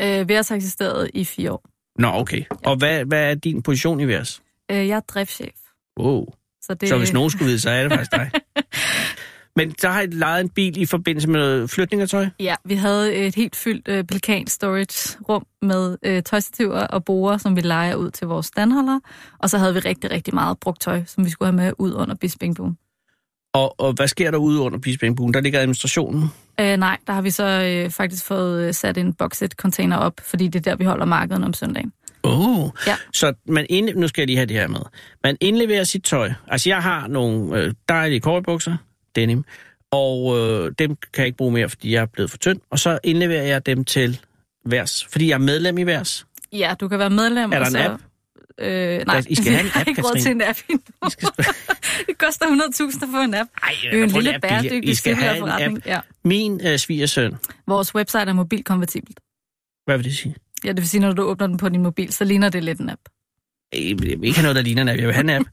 Speaker 5: Øh, vi har så eksisteret i fire år.
Speaker 2: Nå, okay. Og hvad, hvad er din position i vers?
Speaker 5: Øh, jeg er driftschef.
Speaker 2: Wow.
Speaker 5: Så, det,
Speaker 2: Så hvis nogen skulle vide, så er det faktisk
Speaker 5: [LAUGHS]
Speaker 2: dig. Men så har jeg lejet en bil i forbindelse med noget flytning af tøj.
Speaker 5: Ja, vi havde et helt fyldt øh, pelikan storage rum med øh, tøjstativer og borer, som vi leger ud til vores standholdere. Og så havde vi rigtig, rigtig meget brugt tøj, som vi skulle have med ud under Bispingbuen.
Speaker 2: Og, og hvad sker der ude under Bispingbuen? Der ligger administrationen.
Speaker 5: Øh, nej, der har vi så øh, faktisk fået øh, sat en boxset-container op, fordi det er der, vi holder markedet om søndagen.
Speaker 2: Oh.
Speaker 5: Ja.
Speaker 2: Så man ind... nu skal jeg lige have det her med. Man indleverer sit tøj. Altså, jeg har nogle øh, dejlige cowboybukser, denim, og øh, dem kan jeg ikke bruge mere, fordi jeg er blevet for tynd. Og så indleverer jeg dem til Værs, fordi jeg er medlem i Værs.
Speaker 5: Ja, du kan være medlem.
Speaker 2: Er der
Speaker 5: og
Speaker 2: en
Speaker 5: så,
Speaker 2: app?
Speaker 5: Øh, nej,
Speaker 2: I
Speaker 5: [LAUGHS]
Speaker 2: skal have en
Speaker 5: vi har
Speaker 2: app,
Speaker 5: ikke råd
Speaker 2: Katrine.
Speaker 5: til en app endnu. [LAUGHS] det koster 100.000 at få en app.
Speaker 2: Ej,
Speaker 5: Det er jo en
Speaker 2: prøv lige
Speaker 5: lille
Speaker 2: at blive- I
Speaker 5: bæredygtig
Speaker 2: skal have en
Speaker 5: cirkulær forretning. Ja.
Speaker 2: Min øh, svigersøn,
Speaker 5: Vores website er mobilkonvertibelt.
Speaker 2: hvad vil det sige?
Speaker 5: Ja, det vil sige, når du åbner den på din mobil, så ligner det lidt en app.
Speaker 2: Øh, Jeg vil ikke have noget, der ligner en app. Jeg vil have en
Speaker 5: [LAUGHS]
Speaker 2: app.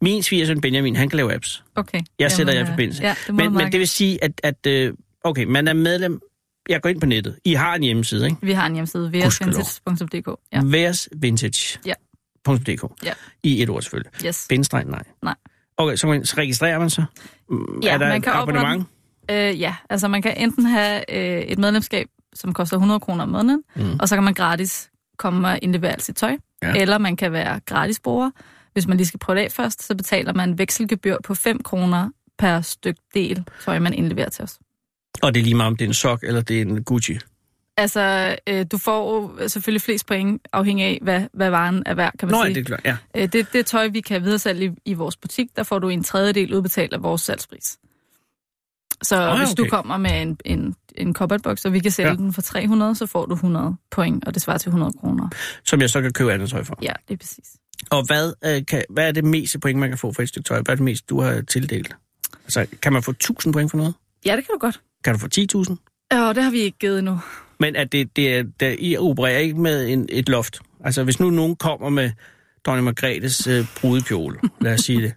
Speaker 2: Min svigersøn Benjamin, han kan lave apps.
Speaker 5: Okay.
Speaker 2: Jeg sætter
Speaker 5: Jamen,
Speaker 2: jer i
Speaker 5: øh,
Speaker 2: forbindelse.
Speaker 5: Ja, det må
Speaker 2: Men, men det
Speaker 5: det...
Speaker 2: vil sige, at, at øh, okay, man er medlem... Jeg går ind på nettet. I har en hjemmeside, ikke?
Speaker 5: Vi har en hjemmeside,
Speaker 2: Gudskelov.
Speaker 5: vrsindsits.dk. Ja.
Speaker 2: Ja. Vintage.
Speaker 5: Ja.
Speaker 2: .dk.
Speaker 5: Ja.
Speaker 2: I et ord selvfølgelig.
Speaker 5: Yes.
Speaker 2: Bindestreg, nej.
Speaker 5: Nej.
Speaker 2: Okay, så, man- så registrerer man sig. Mm,
Speaker 5: Ja,
Speaker 2: er der
Speaker 5: man
Speaker 2: et
Speaker 5: kan oprette-
Speaker 2: abonnement?
Speaker 5: Øh, ja, altså man kan enten have øh, et medlemskab, som koster 100 kroner om måneden,
Speaker 2: Mm.
Speaker 5: mm. og så kan man gratis komme og indlevere alt sit tøj.
Speaker 2: Ja.
Speaker 5: Ja. Eller man kan være gratis bruger. Hvis man lige skal prøve det af først, så betaler man vekselgebyr på 5 kroner per styk del tøj, man indleverer til os.
Speaker 2: Og det er lige meget, om det er en sok eller det er en Gucci.
Speaker 5: Altså, øh, du får jo selvfølgelig flest point afhængig af, hvad, hvad varen er værd, kan man
Speaker 2: Nå, ja,
Speaker 5: sige.
Speaker 2: det er klart. Ja.
Speaker 5: Øh, Det, det tøj, vi kan videresælge i, i vores butik, der får du en tredjedel udbetalt af vores salgspris. Så
Speaker 2: ja,
Speaker 5: oh, hvis du
Speaker 2: okay.
Speaker 5: kommer med en, en, en cupboardbox, og vi kan sælge
Speaker 2: Ja.
Speaker 5: ja. den for 300, så får du 100 point, og det svarer til 100 kroner.
Speaker 2: Som jeg så kan købe andet tøj for.
Speaker 5: Ja, det er præcis.
Speaker 2: Og hvad, øh, kan, hvad er det meste point, man kan få for et stykke tøj? Hvad er det mest, du har tildelt? Altså, kan man få 1000 point for noget?
Speaker 5: Ja, det kan du godt.
Speaker 2: Kan du få 10.000?
Speaker 5: Og det har vi ikke givet endnu.
Speaker 2: Men at det, det er, der, I opererer ikke med en, et loft. Altså, hvis nu nogen kommer med dronning Margrethes øh, brudekjole, lad os sige det,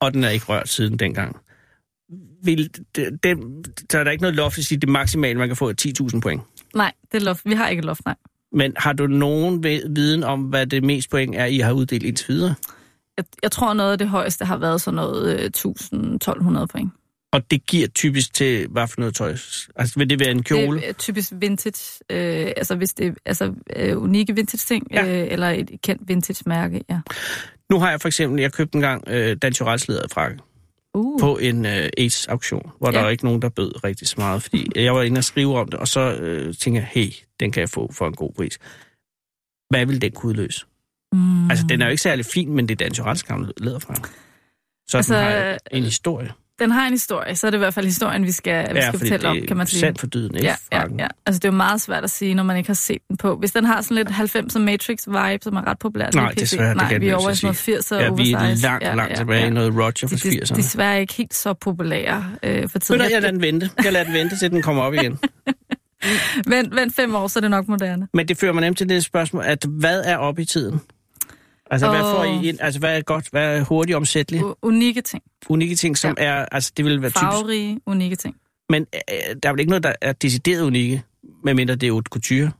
Speaker 2: og den er ikke rørt siden dengang, vil det, det, så er der ikke noget loft, at sige, det maksimale, man kan få er 10.000 point.
Speaker 5: Nej, det er loft. Vi har ikke et loft, nej.
Speaker 2: Men har du nogen ve- viden om, hvad det mest point er, I har uddelt indtil videre?
Speaker 5: Jeg, jeg tror, noget af det højeste har været sådan noget øh, 1.200 point.
Speaker 2: Og det giver typisk til, hvad for noget tøj? Altså, vil det være en kjole?
Speaker 5: Det er øh, typisk vintage, øh, altså hvis det er altså, øh, unikke vintage-ting,
Speaker 2: Ja.
Speaker 5: ja. øh, eller et kendt vintage-mærke, ja.
Speaker 2: Nu har jeg for eksempel, jeg købte engang øh, Dan Tyrells læderfrakke.
Speaker 5: Uh.
Speaker 2: på en øh, AIDS-auktion, hvor ja.
Speaker 5: Ja.
Speaker 2: der var ikke nogen, der bød rigtig så meget, fordi jeg var inde og skrive om det, og så øh, tænkte jeg, hey, den kan jeg få for en god pris. Hvad vil den kunne udløse?
Speaker 5: Mm.
Speaker 2: Mm. Altså, den er jo ikke særlig fin, men det er Dan Tyrells gamle læderfra. Så altså,
Speaker 5: Altså,
Speaker 2: den har en historie.
Speaker 5: den har en historie, så er det i hvert fald historien, vi skal, vi skal fortælle om, kan man sige.
Speaker 2: sandt for døden, ikke?
Speaker 5: ja, ja,
Speaker 2: frakken?
Speaker 5: ja. Altså, det er jo meget svært at sige, når man ikke har set den på. Hvis den har sådan lidt 90'er Matrix-vibe, som er ret populær. lige
Speaker 2: Nej,
Speaker 5: pt.
Speaker 2: desværre, det
Speaker 5: Nej,
Speaker 2: kan
Speaker 5: vi
Speaker 2: den
Speaker 5: er
Speaker 2: jo
Speaker 5: over i
Speaker 2: så
Speaker 5: sådan noget 80'er
Speaker 2: Ja, vi er
Speaker 5: oversize.
Speaker 2: langt, langt ja, tilbage i noget Roger fra
Speaker 5: De, de,
Speaker 2: 80'erne.
Speaker 5: desværre ikke helt så populære øh, for
Speaker 2: Ved
Speaker 5: tiden.
Speaker 2: du, jeg lader
Speaker 5: Jeg,
Speaker 2: den vente. Jeg lader den vente, til den kommer op igen.
Speaker 5: vent, vent fem år, så er det nok moderne.
Speaker 2: Men det fører mig nemt til det spørgsmål, at hvad er op i tiden? Altså, hvad, får
Speaker 5: Åh.
Speaker 2: I ind? altså, hvad er godt? Hvad er hurtigt omsætteligt?
Speaker 5: U- unikke ting.
Speaker 2: unikke ting, som ja. er, altså det vil være typisk,
Speaker 5: Farverige, unikke ting.
Speaker 2: men øh, der er vel ikke noget, der er decideret unikke, medmindre det er haute couture.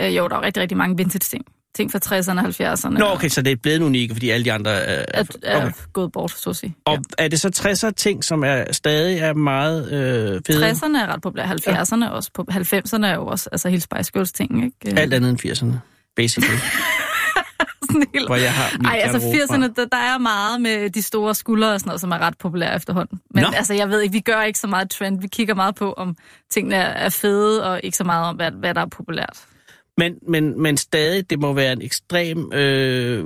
Speaker 5: Øh, jo, der er jo rigtig, rigtig mange vintage-ting. Ting fra 60'erne og 70'erne.
Speaker 2: Nå, okay, så det er blevet unikke, fordi alle de andre øh,
Speaker 5: Er,
Speaker 2: er...
Speaker 5: er
Speaker 2: Okay.
Speaker 5: gået bort, så at sige.
Speaker 2: Og er det så 60'er ting, som er stadig er meget øh, fede?
Speaker 5: 60'erne er ret populære, 70'erne ja. også. På 90'erne er jo også altså, hele Spice Girls ting, ikke? Øh,
Speaker 2: Alt andet end 80'erne,
Speaker 5: [LAUGHS]
Speaker 2: basically.
Speaker 5: Sådan helt-
Speaker 2: hvor jeg har min
Speaker 5: Ej, altså
Speaker 2: garderobe fra.
Speaker 5: 80'erne, der, der er meget med de store skuldre og sådan noget, som er ret populære efterhånden. Men
Speaker 2: Nå.
Speaker 5: altså, jeg ved ikke, vi gør ikke så meget trend. Vi kigger meget på, om tingene er, er fede, og ikke så meget om, hvad, hvad der er populært.
Speaker 2: Men, men, men stadig, det må være en ekstrem øh, øh,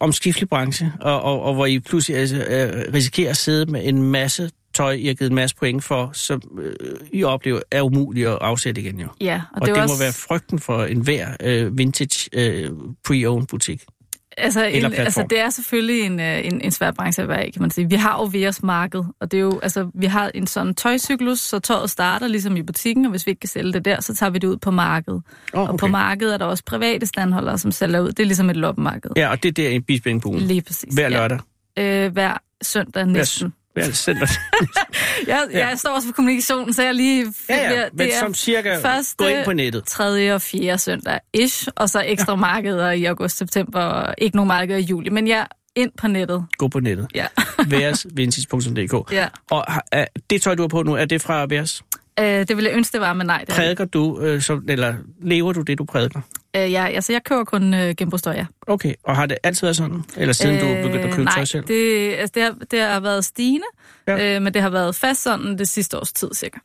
Speaker 2: omskiftelig branche, og, og, og hvor I pludselig altså, øh, risikerer at sidde med en masse tøj, I har givet en masse point for, som øh, I oplever er umuligt at afsætte igen jo.
Speaker 5: Ja, og,
Speaker 2: Og det,
Speaker 5: er
Speaker 2: det
Speaker 5: jo
Speaker 2: også... må være frygten for enhver øh, vintage øh, pre-owned butik.
Speaker 5: altså,
Speaker 2: eller
Speaker 5: en,
Speaker 2: platform.
Speaker 5: altså, det er selvfølgelig en, øh, en, en svær branche at være i, kan man sige. Vi har jo Veas marked, og det er jo, altså, vi har en sådan tøjcyklus, så tøjet starter ligesom i butikken, og hvis vi ikke kan sælge det der, så tager vi det ud på markedet.
Speaker 2: Oh,
Speaker 5: Og på markedet er der også private standholdere, som sælger ud. Det er ligesom et loppemarked.
Speaker 2: Ja, og det er der i Bispingbogen.
Speaker 5: Lige præcis.
Speaker 2: Hver lørdag.
Speaker 5: Ja. Øh, hver søndag næsten.
Speaker 2: Hver søndag.
Speaker 5: [LAUGHS] Jeg,
Speaker 2: Ja.
Speaker 5: ja. jeg står også for kommunikationen, så jeg lige...
Speaker 2: ja, ja,
Speaker 5: det
Speaker 2: men
Speaker 5: er
Speaker 2: som cirka første...
Speaker 5: første-
Speaker 2: gå ind på nettet.
Speaker 5: tredje og fjerde søndag ish, og så ekstra ja. markeder i august, september, og ikke nogen markeder i juli, men jeg ja, ind på nettet.
Speaker 2: Gå på nettet.
Speaker 5: Ja.
Speaker 2: Væresvintage.dk
Speaker 5: [LAUGHS] ja.
Speaker 2: Og har- er, det tøj, du har på nu, er det fra Væres?
Speaker 5: Øh, det ville jeg ønske, det var, men nej. Det er det ikke.
Speaker 2: Prædiker du, øh, som, eller lever du det, du prædiker?
Speaker 5: øh, jeg, altså, jeg køber kun øh, genbrugstøj, ja.
Speaker 2: Okay, og har det altid været sådan? Eller siden øh, du begyndte at købe
Speaker 5: nej,
Speaker 2: tøj selv? Det...
Speaker 5: Det, altså, det, har, det har været stigende,
Speaker 2: Ja.
Speaker 5: ja. øh, men det har været fast sådan det sidste års tid, cirka.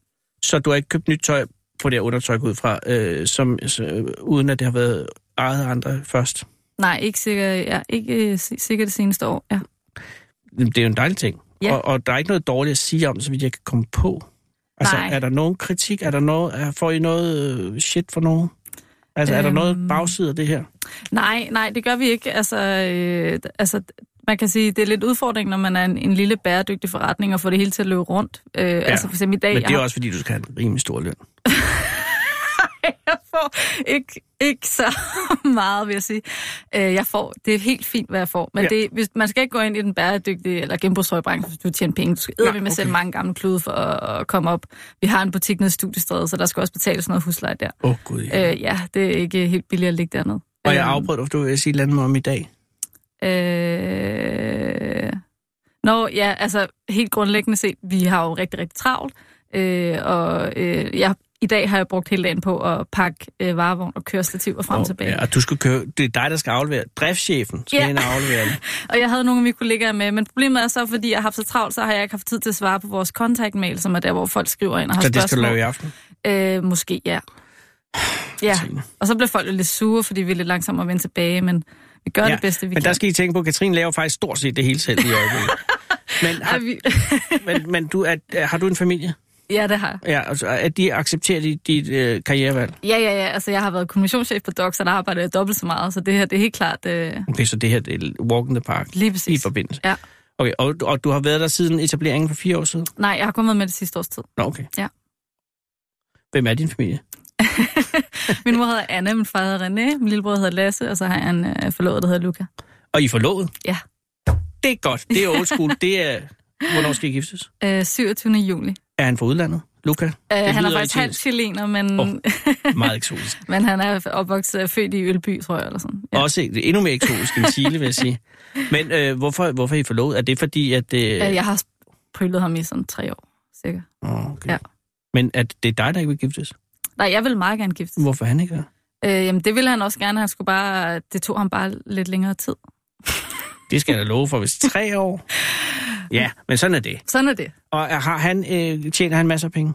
Speaker 2: Så du har ikke købt nyt tøj på det her undertøj ud fra, øh, som, så, øh, uden at det har været ejet af andre først.
Speaker 5: Nej, ikke sikkert, ja, ikke øh, si- sikkert det seneste år. Ja.
Speaker 2: Jamen, Det er jo en dejlig ting.
Speaker 5: Ja.
Speaker 2: Og, og der er ikke noget dårligt at sige om, så vidt jeg kan komme på. Altså,
Speaker 5: Nej.
Speaker 2: er der nogen kritik? Er der noget, er, får I noget øh, shit for nogen? Altså, øhm... er der
Speaker 5: Øhm. øh,
Speaker 2: noget bagside af det her?
Speaker 5: Nej, nej, det gør vi ikke. Altså, øh, altså, man kan sige, det er lidt udfordring, når man er en, en lille bæredygtig forretning, og få det hele til at løbe rundt. Øh, ja. Altså for eksempel i dag...
Speaker 2: Men det
Speaker 5: jeg
Speaker 2: er
Speaker 5: har-
Speaker 2: også, fordi du skal have en rimelig stor løn.
Speaker 5: jeg får ikke, ikke så [LAUGHS] meget, vil jeg sige. Øh, jeg får, det er helt fint, hvad jeg får. Men
Speaker 2: Ja.
Speaker 5: ja. det, hvis, man skal ikke gå ind i den bæredygtige eller genbrugshøjbranche, hvis du tjener penge. Du skal eddermame med okay. sælge mange gamle klude for at, at komme op. Vi har en butik nede i studiestredet, så der skal også betales noget husleje der.
Speaker 2: Åh, oh, gud. Ja.
Speaker 5: Øh, ja, det er ikke helt billigt at ligge dernede.
Speaker 2: og jeg
Speaker 5: Øhm,
Speaker 2: afbrød dig, for du vil sige et eller andet med om i dag.
Speaker 5: Øh... Nå, ja, altså helt grundlæggende set, vi har jo rigtig, rigtig travlt, øh, og øh, jeg, i dag har jeg brugt hele dagen på at pakke øh, varevogn og køre stativer frem og
Speaker 2: Og-
Speaker 5: tilbage.
Speaker 2: Ja, og du skal køre, det er dig, der skal aflevere. Driftschefen skal
Speaker 5: Ja.
Speaker 2: ind og aflevere det.
Speaker 5: [LAUGHS] Og jeg havde nogle af mine kollegaer med, men problemet er så, fordi jeg har haft så travlt, så har jeg ikke haft tid til at svare på vores kontaktmail, som er der, hvor folk skriver ind og har
Speaker 2: Så det skal du
Speaker 5: spørgsmål.
Speaker 2: lave i aften.
Speaker 5: Øh, måske, ja. Ja,
Speaker 2: Katrine.
Speaker 5: og så bliver folk jo lidt sure, fordi vi er lidt langsommere at vende tilbage, men vi gør ja, det bedste, vi
Speaker 2: men
Speaker 5: kan.
Speaker 2: der skal I tænke på, at Katrine laver faktisk stort set det hele selv i
Speaker 5: [LAUGHS]
Speaker 2: øjeblikket. men
Speaker 5: Ej,
Speaker 2: har,
Speaker 5: vi... [LAUGHS]
Speaker 2: men, men du, er, har du en familie?
Speaker 5: ja, det har jeg.
Speaker 2: Ja, altså, at de accepterer dit, dit øh, karrierevalg?
Speaker 5: Ja, ja, ja. Altså, jeg har været kommunikationschef på Docs, og der arbejder jeg dobbelt så meget, så det her, det er helt klart øh,
Speaker 2: Okay, så det her det er walk in the park
Speaker 5: lige
Speaker 2: i
Speaker 5: præcis.
Speaker 2: forbindelse.
Speaker 5: Ja.
Speaker 2: Okay, og, og du har været der siden etableringen for fire år siden?
Speaker 5: Nej, jeg har kun været med det sidste års tid.
Speaker 2: Nå, okay.
Speaker 5: Ja.
Speaker 2: Hvem er din familie?
Speaker 5: Min mor hedder Anna, min far hedder René, min lillebror hedder Lasse, og så har jeg en øh, forlovet, der hedder Luca.
Speaker 2: Og I er forlovet?
Speaker 5: Ja.
Speaker 2: Det er godt. Det er old school. det er... Hvornår skal I giftes?
Speaker 5: Øh, 27. juli.
Speaker 2: Er han fra udlandet? Luca?
Speaker 5: Øh, han er
Speaker 2: lyder
Speaker 5: faktisk
Speaker 2: italiensk.
Speaker 5: halvt chilener, men,
Speaker 2: Åh.
Speaker 5: oh.
Speaker 2: Meget eksotisk.
Speaker 5: [LAUGHS] men han er opvokset født i Ølby, tror jeg, eller sådan.
Speaker 2: Ja.
Speaker 5: Ja.
Speaker 2: Også ikke- endnu mere eksotisk end Chile, vil jeg sige. Men øh, hvorfor, hvorfor er I forlovet? Er det fordi, at... Øh...
Speaker 5: Øh, jeg har prylet ham i sådan tre år, sikkert.
Speaker 2: Åh, okay.
Speaker 5: Ja.
Speaker 2: Men at det er dig, der ikke vil giftes?
Speaker 5: Nej, jeg vil meget gerne giftes.
Speaker 2: Hvorfor er han ikke der?
Speaker 5: Øh, jamen, det ville han også gerne. Han skulle bare, det tog ham bare lidt længere tid.
Speaker 2: Det skal jeg da love for, hvis tre år. Ja, men sådan er det.
Speaker 5: Sådan er det.
Speaker 2: Og er- har han, øh, tjener han masser af penge?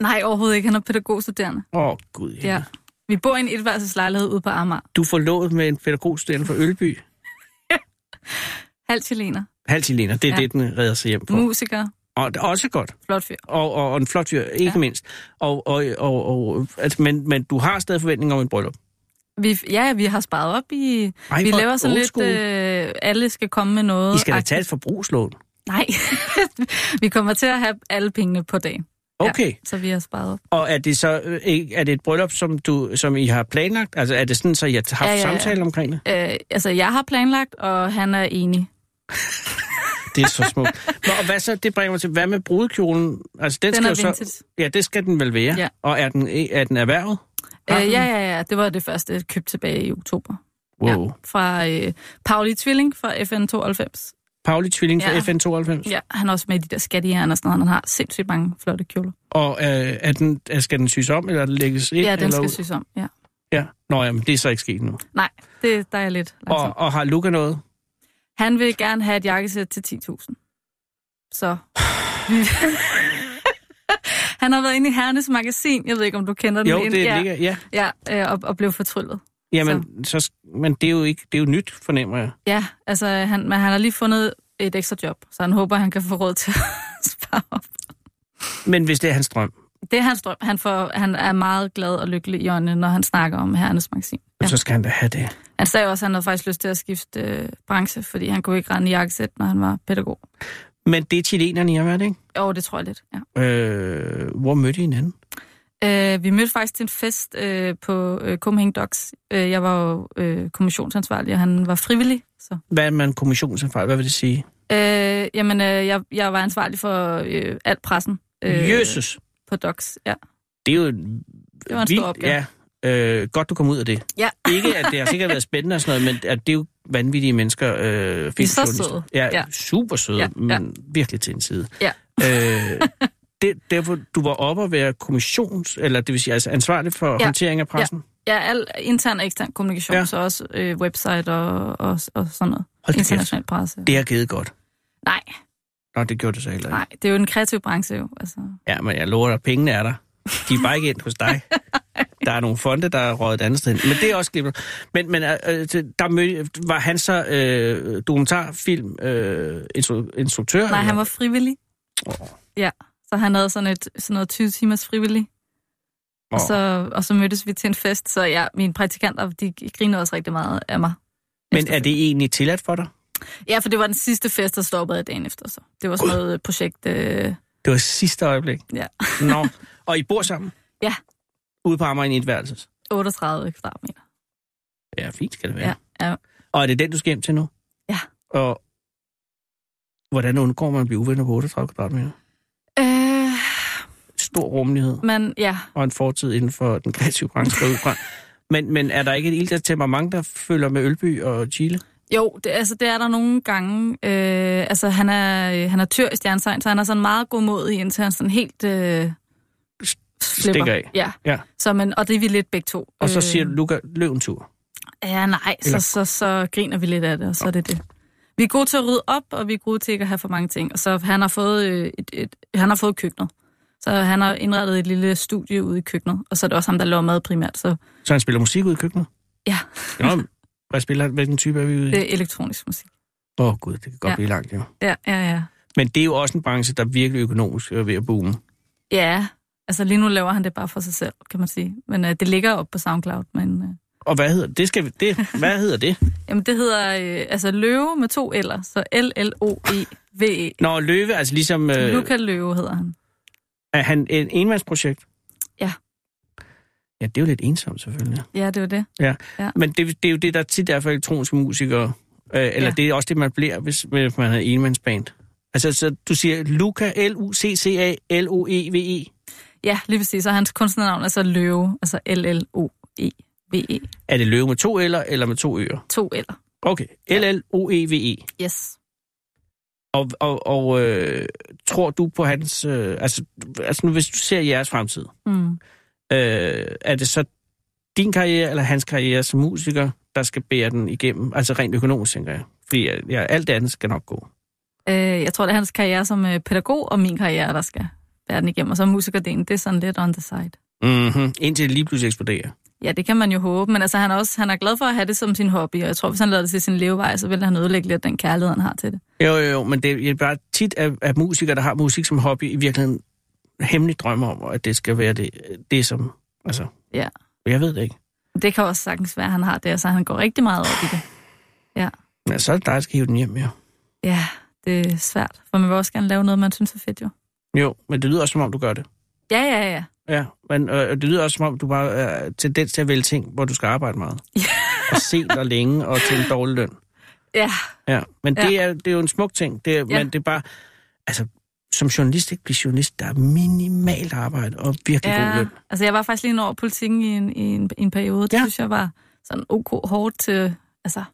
Speaker 5: Nej, overhovedet ikke. Han er pædagogstuderende.
Speaker 2: Åh, oh, gud.
Speaker 5: Ja. ja. Vi bor i en etværelseslejlighed ude på Amager.
Speaker 2: Du får lovet med en pædagogstuderende fra Ølby.
Speaker 5: Halv chilener.
Speaker 2: Halv til Lena, det er ja. Mm.
Speaker 5: Ja.
Speaker 2: det, den redder sig hjem på.
Speaker 5: Musiker.
Speaker 2: Og det er også godt.
Speaker 5: Flot fyr.
Speaker 2: Og, og, og en flot fyr, ikke ja.
Speaker 5: Ja.
Speaker 2: mindst. Og, og, og, og, altså, men, men du har stadig forventninger om en bryllup.
Speaker 5: Vi, ja, vi har sparet op i...
Speaker 2: Ej,
Speaker 5: vi
Speaker 2: hvor
Speaker 5: laver sådan
Speaker 2: old
Speaker 5: lidt...
Speaker 2: school.
Speaker 5: Øh, alle skal komme med noget.
Speaker 2: I skal da
Speaker 5: Ag-
Speaker 2: tage et forbrugslån.
Speaker 5: Nej. [LAUGHS] vi kommer til at have alle pengene på dagen.
Speaker 2: Okay,
Speaker 5: Ja, så vi har sparet op.
Speaker 2: og er det så øh, ikke- er det et bryllup, som, du, som I har planlagt? Altså er det sådan, så I har haft ja,
Speaker 5: Ja,
Speaker 2: ja,
Speaker 5: ja,
Speaker 2: ja.
Speaker 5: ja.
Speaker 2: samtale omkring det?
Speaker 5: Øh, altså, jeg har planlagt, og han er enig.
Speaker 2: Det er så smukt. Nå, og hvad så, det bringer mig til, hvad med brudekjolen? Altså, den,
Speaker 5: Den
Speaker 2: skal
Speaker 5: er
Speaker 2: jo
Speaker 5: vintage.
Speaker 2: så, Ja, det skal den vel være.
Speaker 5: Ja.
Speaker 2: Og er den, er den erhvervet? Har
Speaker 5: Øh,
Speaker 2: du
Speaker 5: ja,
Speaker 2: den?
Speaker 5: ja, ja. Det var det første køb tilbage i oktober.
Speaker 2: Wow. Ja.
Speaker 5: Ja, fra øh, Pauli Tvilling fra FN 92.
Speaker 2: Pauli Tvilling fra
Speaker 5: Ja.
Speaker 2: FN 92.
Speaker 5: Ja, han er også med i de der skattejern og sådan noget. Han har sindssygt mange flotte kjoler.
Speaker 2: Og øh, er den, er- skal den syes om, eller lægges ind?
Speaker 5: Ja, den
Speaker 2: eller
Speaker 5: skal
Speaker 2: ud?
Speaker 5: synes om. Ja.
Speaker 2: Ja. Nå, jamen, det er så ikke sket nu.
Speaker 5: Nej, det, der er jeg lidt langsom.
Speaker 2: Og, og har Luca noget?
Speaker 5: Han vil gerne have et jakkesæt til 10.000.
Speaker 2: [LAUGHS]
Speaker 5: Så... [LAUGHS] vi- han har været inde i Hernes magasin. Jeg ved ikke, om du kender den.
Speaker 2: Jo,
Speaker 5: ind-
Speaker 2: det
Speaker 5: ja,
Speaker 2: ligger, ja.
Speaker 5: Ja, øh, og, og blev fortryllet.
Speaker 2: Jamen, så. Så, men det er jo ikke, det er jo nyt, fornemmer jeg.
Speaker 5: Ja, altså, han, men han har lige fundet et ekstra job, så han håber, han kan få råd til [LAUGHS] at spare op.
Speaker 2: Men hvis det er hans drøm,
Speaker 5: Det er hans drøm. Han, får, han er meget glad og lykkelig i åndene, når han snakker om Hernes magasin.
Speaker 2: ja.
Speaker 5: Ja.
Speaker 2: så skal han da have det.
Speaker 5: Han sagde også, at han havde faktisk lyst til at skifte øh, branche, fordi han kunne ikke rende i jakkesæt, når han var pædagog.
Speaker 2: Men det er chilenerne, jeg ved ikke?
Speaker 5: Jo, det tror jeg lidt, ja.
Speaker 2: Øh, hvor mødte I hinanden?
Speaker 5: Øh, vi mødte faktisk til en fest øh, på øh, Copenhagen Docs. Øh, jeg var jo øh, kommissionsansvarlig, og han var frivillig. Så.
Speaker 2: Hvad er man kommissionserfaring? Hvad vil det sige?
Speaker 5: Øh, jamen, øh, jeg, jeg var ansvarlig for øh, alt pressen.
Speaker 2: Øh. Jesus!
Speaker 5: På Docs, ja.
Speaker 2: Det er jo en,
Speaker 5: Det var en stor opgave.
Speaker 2: Ja, øh, godt du kom ud af det.
Speaker 5: Ja.
Speaker 2: [LAUGHS] Ikke, at det har sikkert været spændende og sådan noget, men at det er jo vanvittige mennesker. Øh, de
Speaker 5: er så søde.
Speaker 2: Ja, ja,
Speaker 5: Ja.
Speaker 2: super søde, ja,
Speaker 5: Ja,
Speaker 2: ja. men virkelig til en side.
Speaker 5: Ja.
Speaker 2: Øh, det, derfor, du var oppe at være kommissions, eller det vil sige altså ansvarlig for ja.
Speaker 5: Ja.
Speaker 2: håndtering af pressen. Ja.
Speaker 5: Ja, al intern og ekstern kommunikation,
Speaker 2: Ja.
Speaker 5: ja. så også øh, website og, og, og sådan noget.
Speaker 2: Hold da kæft.
Speaker 5: International presse.
Speaker 2: Det har givet godt.
Speaker 5: Nej,
Speaker 2: Nå, det gjorde det så heller ikke.
Speaker 5: Nej, det er jo en kreativ branche jo. Altså.
Speaker 2: Ja, men jeg lover dig, pengene er der. De er bare ikke endt hos
Speaker 5: [LAUGHS]
Speaker 2: dig. Der er nogle fonde, der er røget et andet sted hen. Men det er også glimt. Men, men øh, til- der mød, var han så øh, dokumentarfilm øh, instru- instruktør?
Speaker 5: Nej,
Speaker 2: eller?
Speaker 5: han var frivillig.
Speaker 2: Åh.
Speaker 5: Ja, så han havde sådan, et, sådan noget 20 timers frivillig. Og,
Speaker 2: Åh.
Speaker 5: så, og så mødtes vi til en fest, så ja, mine praktikanter, de grinede også rigtig meget af mig.
Speaker 2: Men er det egentlig tilladt for dig?
Speaker 5: Ja, for det var den sidste fest, der stoppede dagen efter. Så. Det var sådan noget øh, projekt... Øh,
Speaker 2: Det var sidste øjeblik.
Speaker 5: Ja.
Speaker 2: Nå, og I bor sammen?
Speaker 5: Ja.
Speaker 2: Ude på Amager i et værelse?
Speaker 5: 38 kvadratmeter.
Speaker 2: Ja, fint skal det være.
Speaker 5: Ja. ja.
Speaker 2: Og er det den, du skal hjem til nu?
Speaker 5: Ja.
Speaker 2: Og hvordan undgår man at blive uvenner på 38 kvadratmeter?
Speaker 5: Øh,
Speaker 2: Stor rummelighed
Speaker 5: men ja,
Speaker 2: og en fortid inden for den kreative branche. går jeg ud fra. Men, men er der ikke et ildt temperament, der følger med Ølby og Chile?
Speaker 5: Jo, det, altså, det er der nogle gange. Øh, altså, han er, øh, han er tyr i stjernetegn, så han er sådan meget godmodig, indtil han sådan helt øh, slipper.
Speaker 2: stikker af.
Speaker 5: Ja.
Speaker 2: Ja.
Speaker 5: Så, men, og det er vi lidt begge to. Øh,
Speaker 2: Og så siger du, Luca, løb en tur.
Speaker 5: Ja, nej,
Speaker 2: Eller-
Speaker 5: så, så, så griner vi lidt af det, og så er det det. Vi er gode til at rydde op, og vi er gode til ikke at have for mange ting. Og så han har fået, øh, et, et, han har fået køkkenet. Så han har indrettet et lille studie ude i køkkenet, og så er det også ham, der laver mad primært, så
Speaker 2: Så han spiller musik ude i køkkenet?
Speaker 5: Ja.
Speaker 2: Nå, hvad spiller han? Hvilken type er vi ude i?
Speaker 5: det er elektronisk musik.
Speaker 2: Åh oh, gud, det kan godt ja.
Speaker 5: Ja.
Speaker 2: blive langt, jo.
Speaker 5: Ja, ja, ja.
Speaker 2: Men det er jo også en branche, der virkelig økonomisk er ved at boome.
Speaker 5: Ja, altså lige nu laver han det bare for sig selv, kan man sige. Men øh, det ligger op på SoundCloud. Men, øh,
Speaker 2: Og hvad hedder det? Skal vi, det hvad hedder det?
Speaker 5: jamen det hedder øh, altså Løve med to L'er, så L-L-O-E-V-E.
Speaker 2: Nå, Løve, altså ligesom...
Speaker 5: Øh. E Luca Løve hedder han.
Speaker 2: Er han en enmandsprojekt?
Speaker 5: Ja.
Speaker 2: Ja, det er jo lidt ensomt selvfølgelig.
Speaker 5: Ja, det var det.
Speaker 2: Men det, det er jo det, der tit er for elektroniske musikere. Øh, eller ja.
Speaker 5: Ja.
Speaker 2: det er også det, man bliver, hvis, hvis man har enmandsband. Altså, så du siger Luca, L-U-C-C-A-L-O-E-V-E.
Speaker 5: Ja, lige præcis. Så hans kunstnernavn er så Løve, altså L-L-O-E-V-E.
Speaker 2: Er det løve med to eller eller med to ører?
Speaker 5: E To L'er.
Speaker 2: Okay, L-L-O-E-V-E.
Speaker 5: Yes.
Speaker 2: E Og, og, og øh, tror du på hans... Øh, altså, altså, nu hvis du ser jeres fremtid,
Speaker 5: Mm.
Speaker 2: øh, er det så din karriere eller hans karriere som musiker, der skal bære den igennem? Altså rent økonomisk, tænker jeg. Fordi jeg, jeg, alt det andet skal nok gå.
Speaker 5: Øh, jeg tror, det er hans karriere som øh, pædagog, og min karriere, der skal være den igennem. Og så musikerdelen, det er sådan lidt on the side.
Speaker 2: Mm-hmm. Indtil det lige pludselig eksploderer.
Speaker 5: Ja, det kan man jo håbe, men altså, han, er også, han er glad for at have det som sin hobby, og jeg tror, hvis han lader det til sin levevej, så vil han ødelægge lidt den kærlighed, han har til det.
Speaker 2: Jo, jo, jo, men det er bare tit, at, at musikere, der har musik som hobby, i virkeligheden hemmeligt drømmer om, at det skal være det, det som... Altså,
Speaker 5: Ja.
Speaker 2: jeg ved det ikke.
Speaker 5: Det kan også sagtens være, at han har det, og så han går rigtig meget op i det.
Speaker 2: Men så er det dig, der skal hive den hjem, jo.
Speaker 5: Ja, det er svært, for man vil også gerne lave noget, man synes er fedt jo.
Speaker 2: Jo, men det lyder også, som om du gør det.
Speaker 5: Ja, ja, ja.
Speaker 2: Ja, men øh, det lyder også, som om du bare har øh, tendens til at vælge ting, hvor du skal arbejde
Speaker 5: [LAUGHS]
Speaker 2: meget. Ja. Og sent og længe og til en dårlig løn.
Speaker 5: Ja,
Speaker 2: Ja, men det, er, det er jo en smuk ting. Det er, ja.
Speaker 5: Ja.
Speaker 2: Men det er bare... Altså, som journalist, ikke blive journalist, der er minimalt arbejde og virkelig ja. god
Speaker 5: ja.
Speaker 2: løn.
Speaker 5: Altså, jeg var faktisk lige inde over politikken i en, i en, i en periode. Det
Speaker 2: Ja.
Speaker 5: ja. synes jeg var sådan ok hårdt til... Altså,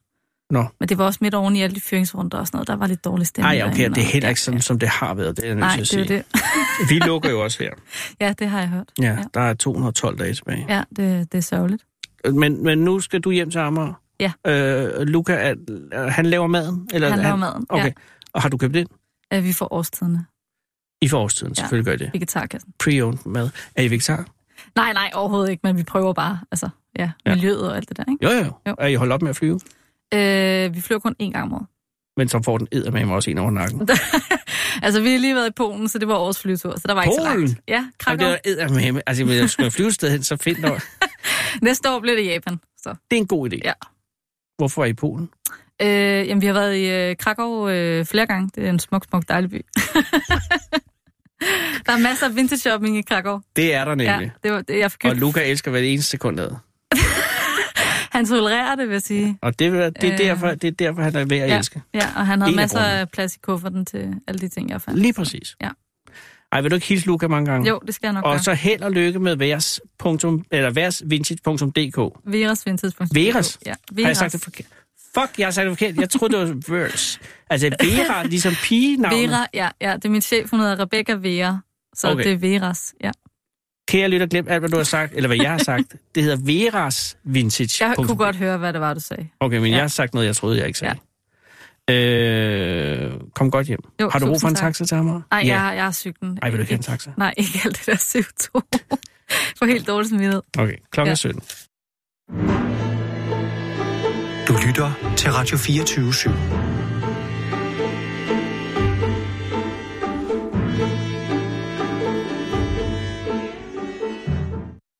Speaker 2: Nå.
Speaker 5: men det var også midt oven i alle de fyringsrunder og sådan noget. Der var lidt dårlig stemning.
Speaker 2: Ej, ja, okay,
Speaker 5: derinde,
Speaker 2: det er
Speaker 5: og-
Speaker 2: heller ikke
Speaker 5: ja,
Speaker 2: sådan, som det har været. Det er jeg
Speaker 5: ja.
Speaker 2: nødt
Speaker 5: Nej,
Speaker 2: til at
Speaker 5: det er
Speaker 2: sige.
Speaker 5: jo det. [LAUGHS]
Speaker 2: Vi lukker jo også her.
Speaker 5: Ja, det har jeg hørt.
Speaker 2: Ja,
Speaker 5: Ja.
Speaker 2: der er 212 dage tilbage.
Speaker 5: Ja, det, det er sørgeligt.
Speaker 2: Men, men nu skal du hjem til Amager.
Speaker 5: Ja.
Speaker 2: Øh, Luca, er, er- han laver maden? Eller
Speaker 5: Han laver maden.
Speaker 2: Okay.
Speaker 5: Ja.
Speaker 2: Og har du købt ind?
Speaker 5: at vi får årstiderne.
Speaker 2: I forårstiden, ja.
Speaker 5: Ja.
Speaker 2: selvfølgelig gør I det.
Speaker 5: Vegetarkassen.
Speaker 2: Pre-owned mad. Er I vegetar?
Speaker 5: Nej, nej, overhovedet ikke, men vi prøver bare. Altså, ja,
Speaker 2: Ja.
Speaker 5: ja. miljøet og alt det der, ikke?
Speaker 2: Jo, jo. jo.
Speaker 5: Jo.
Speaker 2: Er I holdt op med at flyve?
Speaker 5: Øh, vi flyver kun én gang om året. [LAUGHS]
Speaker 2: Men så får den eddermame også en over nakken.
Speaker 5: Altså, vi har lige været i Polen, så det var årets flyvetur, så der var ikke så
Speaker 2: Polen?
Speaker 5: langt. Ja,
Speaker 2: Jamen, det
Speaker 5: Krakow.
Speaker 2: er eddermame. Altså, hvis jeg skulle flyve et sted hen, så find noget.
Speaker 5: Næste år bliver det Japan. Så.
Speaker 2: Det er en god idé.
Speaker 5: Ja.
Speaker 2: Hvorfor er I i Polen?
Speaker 5: Øh, jamen, vi har været i øh, Krakow øh, flere gange. Det er en smuk, smuk dejlig by. [LAUGHS] der er masser af vintage shopping i Krakow.
Speaker 2: Det er der nemlig.
Speaker 5: Ja, det var, det, jeg fik
Speaker 2: Og Luca elsker hver eneste sekund af det.
Speaker 5: Han tolererer det, vil jeg sige.
Speaker 2: Og det, er- det, er
Speaker 5: Øh.
Speaker 2: derfor, det er derfor, han er ved at
Speaker 5: Ja.
Speaker 2: elske.
Speaker 5: Ja, og han havde
Speaker 2: En af
Speaker 5: masser
Speaker 2: grundene.
Speaker 5: af plads i kufferten til alle de ting, jeg fandt.
Speaker 2: Lige præcis.
Speaker 5: Ja.
Speaker 2: Ej, vil du ikke hilse Luca mange gange?
Speaker 5: Jo, det skal jeg nok
Speaker 2: Og
Speaker 5: gøre.
Speaker 2: så held og lykke med vers, punktum, eller versvintage.dk.
Speaker 5: Veras vintage.dk.
Speaker 2: Veras?
Speaker 5: Ja,
Speaker 2: Har jeg
Speaker 5: Veras.
Speaker 2: sagt det forkert? Fuck, jeg har sagt det forkert. Jeg troede, det var vers. Altså
Speaker 5: [LAUGHS]
Speaker 2: Vera, ligesom pigenavnet. Vera.
Speaker 5: Vera, ja, ja, det er min chef, hun hedder Rebecca Vera. Så
Speaker 2: Okay.
Speaker 5: okay. det er Veras, ja.
Speaker 2: Kære lytter, glem alt, hvad du har sagt, eller hvad jeg har sagt. Det hedder Veras Vintage.
Speaker 5: Jeg kunne godt høre, hvad det var, du sagde.
Speaker 2: Okay, men ja.
Speaker 5: Ja.
Speaker 2: jeg har sagt noget, jeg troede, jeg ikke sagde. Ja. Øh, kom godt hjem.
Speaker 5: Jo,
Speaker 2: har du brug for en
Speaker 5: tusind tak.
Speaker 2: taxa til Amager?
Speaker 5: Nej,
Speaker 2: ja.
Speaker 5: ja. jeg, jeg har cyklen.
Speaker 2: Ej, vil du ikke have en taxa?
Speaker 5: Nej, ikke alt det der CO2. [LAUGHS] Jeg får helt dårlig smidighed.
Speaker 2: Okay, klokken
Speaker 5: Ja.
Speaker 2: er 17.
Speaker 1: Du lytter til Radio 24 /7.